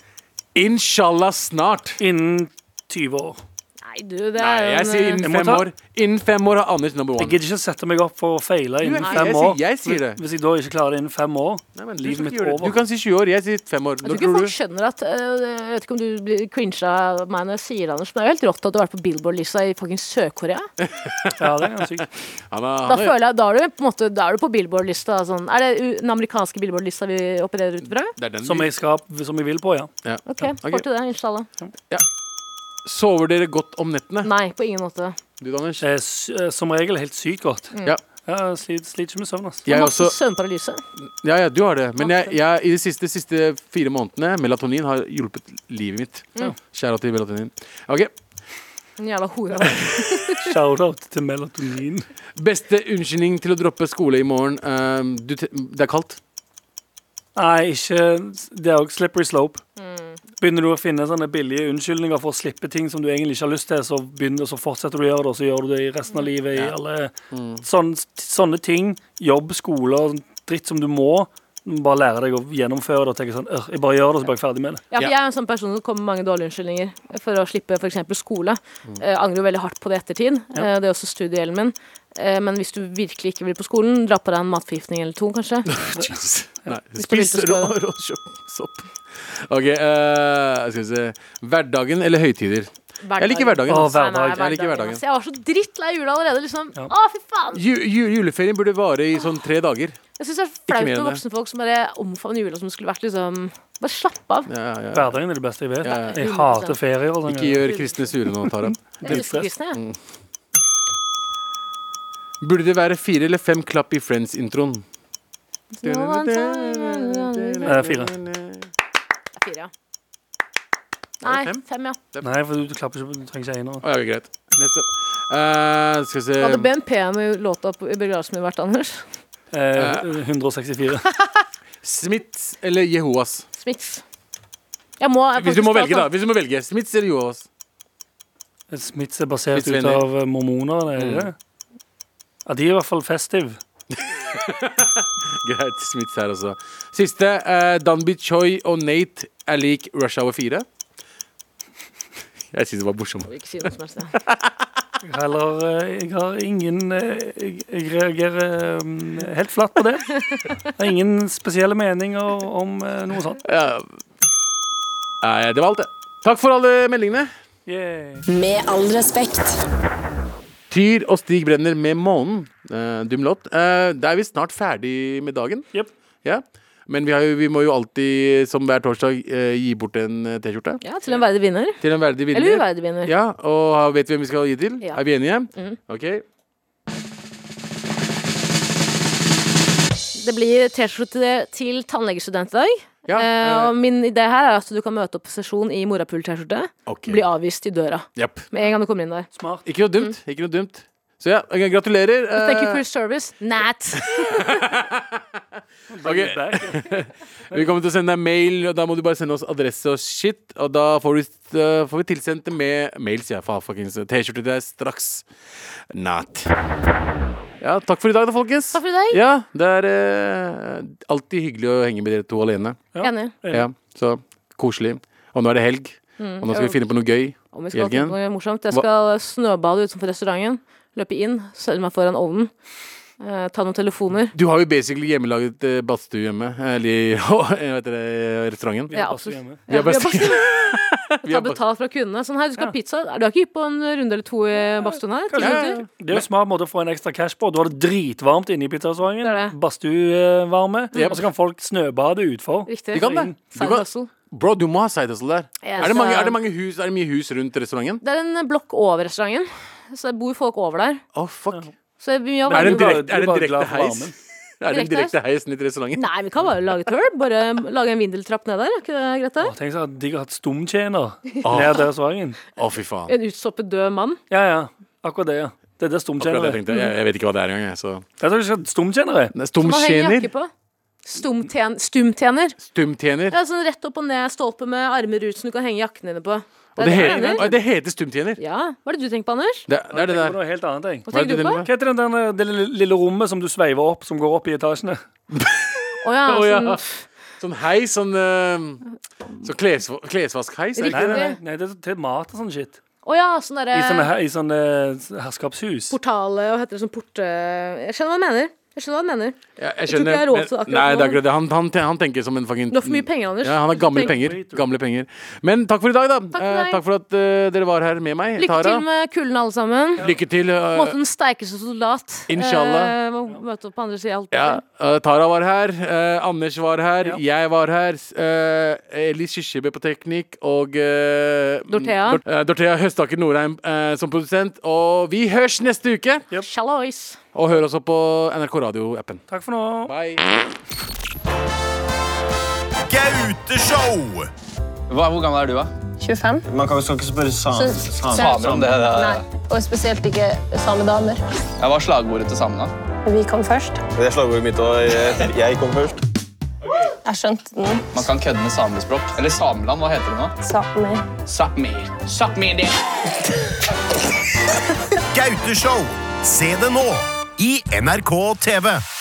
Speaker 3: Inshallah snart.
Speaker 5: Innen 20 år.
Speaker 4: Nei, du,
Speaker 3: Nei,
Speaker 4: det er jo
Speaker 3: jeg
Speaker 4: en, eh,
Speaker 3: sier
Speaker 5: Jeg
Speaker 3: innen
Speaker 5: må
Speaker 3: fem
Speaker 5: ta-
Speaker 3: år. Innen fem år har Anders number
Speaker 5: Jeg
Speaker 3: one.
Speaker 5: gidder ikke sette meg opp for å feile innen
Speaker 3: jeg-
Speaker 5: fem
Speaker 3: jeg
Speaker 5: år.
Speaker 3: sier- jeg sier det.
Speaker 5: Hvis- Hvis jeg da ikke klarer det innen fem år
Speaker 3: Nei, men du
Speaker 5: Livet
Speaker 3: skal
Speaker 5: mitt
Speaker 3: ikke gjøre det.
Speaker 5: over.
Speaker 3: Du kan si 20 år. Jeg sier fem år.
Speaker 4: Jeg
Speaker 3: Når
Speaker 4: tror ikke
Speaker 3: tror du?
Speaker 4: folk skjønner at øh, Jeg vet ikke om du blir cringe av meg når jeg sier det, Anders, men det er jo helt rått at du har vært på Billboard-lista i fucking Sør-Korea.
Speaker 5: Ja, det er ganske sykt.
Speaker 3: Han er,
Speaker 4: Da
Speaker 3: han er,
Speaker 4: føler jeg, da er du på, en måte, da er du på Billboard-lista. Sånn. Er det u- den amerikanske Billboard-lista vi opererer ut fra?
Speaker 3: det er den
Speaker 5: Som
Speaker 3: vi-
Speaker 5: jeg, skal, som jeg vil på, ja.
Speaker 3: ja.
Speaker 4: Ok, får til det, inshallah.
Speaker 3: Sover dere godt om nettene?
Speaker 4: Nei, på ingen måte.
Speaker 3: Du, Anders?
Speaker 5: Det er s- eh, som regel helt sykt godt.
Speaker 3: Ja.
Speaker 5: Ja, sliter, sliter ikke med søvn, altså. ass.
Speaker 3: Jeg
Speaker 4: Masse
Speaker 3: også,
Speaker 4: søvnparalyse.
Speaker 3: ja, ja, du har det. Men jeg, jeg, i de siste, siste fire månedene melatonin har hjulpet livet mitt.
Speaker 5: Mm.
Speaker 3: Kjære til melatonin. Ok,
Speaker 4: En jævla hore.
Speaker 5: Shout-out til melatonin.
Speaker 3: Beste unnskyldning til å droppe skole i morgen. Um, du, te- det er kaldt.
Speaker 5: Nei, ikke Det er òg slippery slope. Begynner du å finne sånne billige unnskyldninger for å slippe ting som du egentlig ikke har lyst til, så, begynner, så fortsetter du å gjøre det, og så gjør du det i resten av livet. I alle,
Speaker 3: Mm.
Speaker 5: sånn- sånne ting. Jobb, skole og sånn dritt som du må. du må Bare lære deg å gjennomføre det og tenke sånn «Øh, Jeg bare gjør det, og så blir jeg ferdig med det.
Speaker 4: Ja, for jeg er en sånn person som kommer med mange dårlige unnskyldninger for å slippe f.eks. skole.
Speaker 3: Mm.
Speaker 4: Eh, angrer jo veldig hardt på det i ettertid. Eh, det er også studiehjelmen min. Eh, men hvis du virkelig ikke vil på skolen, dra på deg en matforgiftning eller to, kanskje.
Speaker 3: Nei,
Speaker 4: Hvis du vil
Speaker 3: spis
Speaker 4: til
Speaker 3: rå
Speaker 4: skole.
Speaker 3: rå sopp. sopp. Ok, eh, skal vi se. Hverdagen eller høytider? Jeg liker hverdagen. altså.
Speaker 5: Å,
Speaker 3: ass.
Speaker 5: hverdag.
Speaker 4: Nei, nei,
Speaker 3: Jeg liker hverdagen.
Speaker 4: ass. Jeg var så drittlei jula allerede. Liksom.
Speaker 5: Ja.
Speaker 4: Å, fy faen!
Speaker 3: Ju, ju, juleferien burde vare i sånn tre dager.
Speaker 4: Jeg syns det er
Speaker 3: Ikke
Speaker 4: flaut
Speaker 3: mer enn
Speaker 4: med
Speaker 3: det.
Speaker 4: voksne folk som bare omfavner jula som skulle vært liksom Bare slapp av.
Speaker 3: Ja, ja, ja.
Speaker 5: Hverdagen er det beste jeg vet.
Speaker 3: Ja, ja.
Speaker 5: Jeg hater ferier. og sånn.
Speaker 3: Ikke gjør kristne sure nå, Tara.
Speaker 4: Jeg elsker kristne, jeg.
Speaker 3: Burde det være fire eller fem klapp i Friends-introen?
Speaker 4: No one time.
Speaker 5: Eh, fire.
Speaker 4: Fire, ja. Nei,
Speaker 3: fem? Ehm.
Speaker 4: fem, ja.
Speaker 5: Nei, for du, du klapper ikke, du trenger ikke enere.
Speaker 3: Å ja, greit. Neste. Eh, skal vi se
Speaker 4: Hadde BNP-en i låta på- i begravelsen min vært, Anders?
Speaker 5: Eh, 164.
Speaker 3: Smiths eller Jehovas?
Speaker 4: Smiths. Jeg må
Speaker 3: Hvis
Speaker 4: faktisk
Speaker 3: du må
Speaker 4: ta
Speaker 3: velge, da.
Speaker 4: sånn-
Speaker 3: Hvis du må velge Smiths eller Jehovas?
Speaker 5: Smiths er basert
Speaker 3: Smiths
Speaker 5: ut
Speaker 3: venner.
Speaker 5: av eh, mormoner, er det det?
Speaker 3: Mm.
Speaker 5: Ja, de er i hvert fall festive.
Speaker 3: Greit. Smiths her, altså. Siste. eh, Danby Choi og Nate er lik Rush Hour 4. Jeg syns det var morsomt.
Speaker 4: Ikke si noe som helst. ja.
Speaker 5: Eller eh, jeg har ingen eh, Jeg, jeg reagerer mm, helt flatt på det. Jeg har ingen spesielle meninger om eh, noe sånt.
Speaker 3: Ja. Nei, det var alt, det. Takk for alle meldingene.
Speaker 5: Yeah.
Speaker 1: Med all respekt.
Speaker 3: Tyr og Stig Brenner med Månen. Eh, dum låt. Eh, da er vi snart ferdig med dagen.
Speaker 5: Jep.
Speaker 3: Ja. Men vi, har jo, vi må jo alltid, som hver torsdag, eh, gi bort en eh, T-skjorte.
Speaker 4: Ja, til en verdig vinner.
Speaker 3: Til en verdig vinner.
Speaker 4: Eller uverdig vinner.
Speaker 3: Ja, og vet vi hvem vi skal gi til?
Speaker 4: Ja. Mm.
Speaker 3: Er vi enige? Ok.
Speaker 4: Det blir T-skjorte til tannlegestudent i dag.
Speaker 3: Ja,
Speaker 4: Eh,
Speaker 3: eh,
Speaker 4: og min idé her er at du kan møte opp på sesjon i morapul-T-skjorte.
Speaker 3: ok.
Speaker 4: Bli avvist i døra
Speaker 3: Japp.
Speaker 4: med en gang du kommer inn der.
Speaker 5: Smart.
Speaker 3: Ikke noe dumt. Ikke noe dumt. Så ja, ok, gratulerer.
Speaker 4: Thank you
Speaker 3: eh,
Speaker 4: Mm. for your service. Nat.
Speaker 3: ok. Vi kommer til å sende deg mail, og da må du bare sende oss adresse og shit. Og da får, du, eh, får vi tilsendt det med mail, sier jeg. faen, fuckings. T-skjorte til deg straks. Not. Ja, takk for i dag, da, folkens.
Speaker 4: Takk for i dag.
Speaker 3: Ja, Det er eh, alltid hyggelig å henge med dere to alene.
Speaker 4: Enig.
Speaker 3: Ja, Så koselig. Og nå er det helg,
Speaker 4: Mm.
Speaker 3: og nå skal vi finne på noe gøy.
Speaker 4: Om vi skal
Speaker 3: Jørgen?
Speaker 4: finne på noe morsomt. Jeg skal snøbade utenfor restauranten. Løpe inn, stelle meg foran ovnen. eh, ta noen telefoner.
Speaker 3: Du har jo basically hjemmelaget eh, badstue hjemme. Eller hva heter det, restauranten.
Speaker 4: Ja, absolutt.
Speaker 3: Vi har badstue.
Speaker 4: Ta betalt fra kundene. Sånn her, du skal ha pizza. Er Du har ikke gitt på en runde eller to i badstuen her? Kanskje
Speaker 3: Ja, ja, ja.
Speaker 4: du?
Speaker 5: Det er jo en smart måte å få en ekstra cash på. Du har det dritvarmt inne i
Speaker 4: Det er
Speaker 5: pizzarestauranten.
Speaker 4: det.
Speaker 5: Badstuevarme.
Speaker 3: Jep.
Speaker 5: Og så kan folk snøbade utfor.
Speaker 4: Riktig.
Speaker 3: Vi kan det. Du
Speaker 4: Side
Speaker 3: kan-
Speaker 4: hustle.
Speaker 3: Bro, du må ha side hustle der.
Speaker 4: Ja,
Speaker 3: er, det
Speaker 4: så-
Speaker 3: mange, er, det mange hus, er det mye hus rundt restauranten?
Speaker 4: Det er en eh, blokk over restauranten, så det bor folk over der.
Speaker 3: Å, fuck.
Speaker 4: Så vi har
Speaker 3: Er det en
Speaker 5: Du bare-
Speaker 3: direkte,
Speaker 5: du
Speaker 3: er det en
Speaker 5: bare
Speaker 3: direkte
Speaker 5: glad for
Speaker 3: heis?
Speaker 5: varmen.
Speaker 3: Er det en
Speaker 4: Direkte heis?
Speaker 3: direkte heis ned til restauranten?
Speaker 4: Nei, vi kan bare lage et hull. Bare lage en vindeltrapp ned der. Er ikke det greit?
Speaker 5: Å,
Speaker 4: det?
Speaker 5: Tenk så digg å ha et stumtjener
Speaker 3: Ah.
Speaker 5: ned der restauranten.
Speaker 3: Å, fy faen.
Speaker 4: En utstoppet død mann.
Speaker 5: Ja, ja. Akkurat det, ja. Det er det
Speaker 3: Akkurat
Speaker 5: stumtjener
Speaker 3: det
Speaker 5: er.
Speaker 3: jeg tenkte. Jeg, jeg vet ikke hva det er engang. jeg, Så.
Speaker 5: Jeg tror ikke stumtjener er.
Speaker 3: Det er
Speaker 4: Man henger
Speaker 3: Stumtjener.
Speaker 4: jakke på. Stumtjen, stumtjener.
Speaker 3: Stumtjener.
Speaker 4: Det er sånn rett opp og ned stolpe med armer ut som du kan henge jakken dine på.
Speaker 3: Og det,
Speaker 4: jeg
Speaker 3: heter,
Speaker 4: mener.
Speaker 3: Oi, det heter stumtjener.
Speaker 4: Ja, Hva er det du tenker på, Anders?
Speaker 3: Det, det er det
Speaker 5: Det
Speaker 3: der.
Speaker 5: er noe helt annet, jeg.
Speaker 4: Hva
Speaker 3: Hva er
Speaker 4: tenker
Speaker 3: det
Speaker 4: du på?
Speaker 3: du
Speaker 5: Hva heter den der, det lille, lille rommet som du sveiver opp, som går opp i etasjene?
Speaker 4: Å ja,
Speaker 3: Å, ja.
Speaker 4: sånn,
Speaker 3: Sånn heis, sånn uh, Sånn kles, klesvaskheis. er det
Speaker 5: Nei,
Speaker 3: ikke
Speaker 5: nei, nei,
Speaker 4: Riktig.
Speaker 5: nei det er til mat og sånn shit.
Speaker 4: å ja, sånn
Speaker 5: I
Speaker 3: Liksom
Speaker 5: sånne,
Speaker 4: derre
Speaker 5: her- i sånne eh, herskapshus.
Speaker 4: portale og heter det sånn porte... Jeg skjønner hva du mener. Jeg skjønner hva du mener.
Speaker 3: det? Jeg, jeg
Speaker 4: tror ikke
Speaker 3: skjønner.
Speaker 4: jeg har råd til
Speaker 3: men-
Speaker 4: akkurat
Speaker 3: Nei, det er
Speaker 4: nå.
Speaker 3: akkurat det. Han, han, han tenker som en fucking
Speaker 4: Du har for mye penger, Anders.
Speaker 3: Mm. Ja, han har gamle penger. Gamle penger. Men takk for i dag, da.
Speaker 4: for i
Speaker 3: Eh,
Speaker 4: dag.
Speaker 3: takk for at eh, dere var her med meg.
Speaker 4: Lykke
Speaker 3: Tara.
Speaker 4: til med kulden, alle sammen.
Speaker 3: Lykke til. eh,
Speaker 4: Måtte den sterkeste soldat
Speaker 3: Inshallah.
Speaker 4: eh, må møte opp på andre sida.
Speaker 3: ja, eh, Tara var her, eh, Anders var her, jeg var her. Uh, Eli Kyrkjebø på teknikk og eh,
Speaker 4: Dorthea.
Speaker 3: Dor- eh, Dorthea Høstaker Norheim eh, som produsent. Og vi hørs neste uke!
Speaker 4: Shallois.
Speaker 3: Og hør også på NRK Radio-appen.
Speaker 5: Takk for nå.
Speaker 3: Bye.
Speaker 8: Gauteshow!
Speaker 7: Hva, hvor gammel er du, da?
Speaker 8: Man kan jo skal ikke spørre sam-
Speaker 7: Samer om det. det.
Speaker 9: Og spesielt ikke samedamer.
Speaker 7: Jeg var slagordet til samene.
Speaker 9: Vi kom først.
Speaker 8: Det er slagordet mitt, og jeg- jeg kom først.
Speaker 9: Jeg skjønte den.
Speaker 7: Man kan kødde med samespråk. Eller Sameland, hva heter det nå?
Speaker 9: Samer.
Speaker 7: Sápmi. Sápmi det.
Speaker 8: Gauteshow! Se det nå i NRK TV.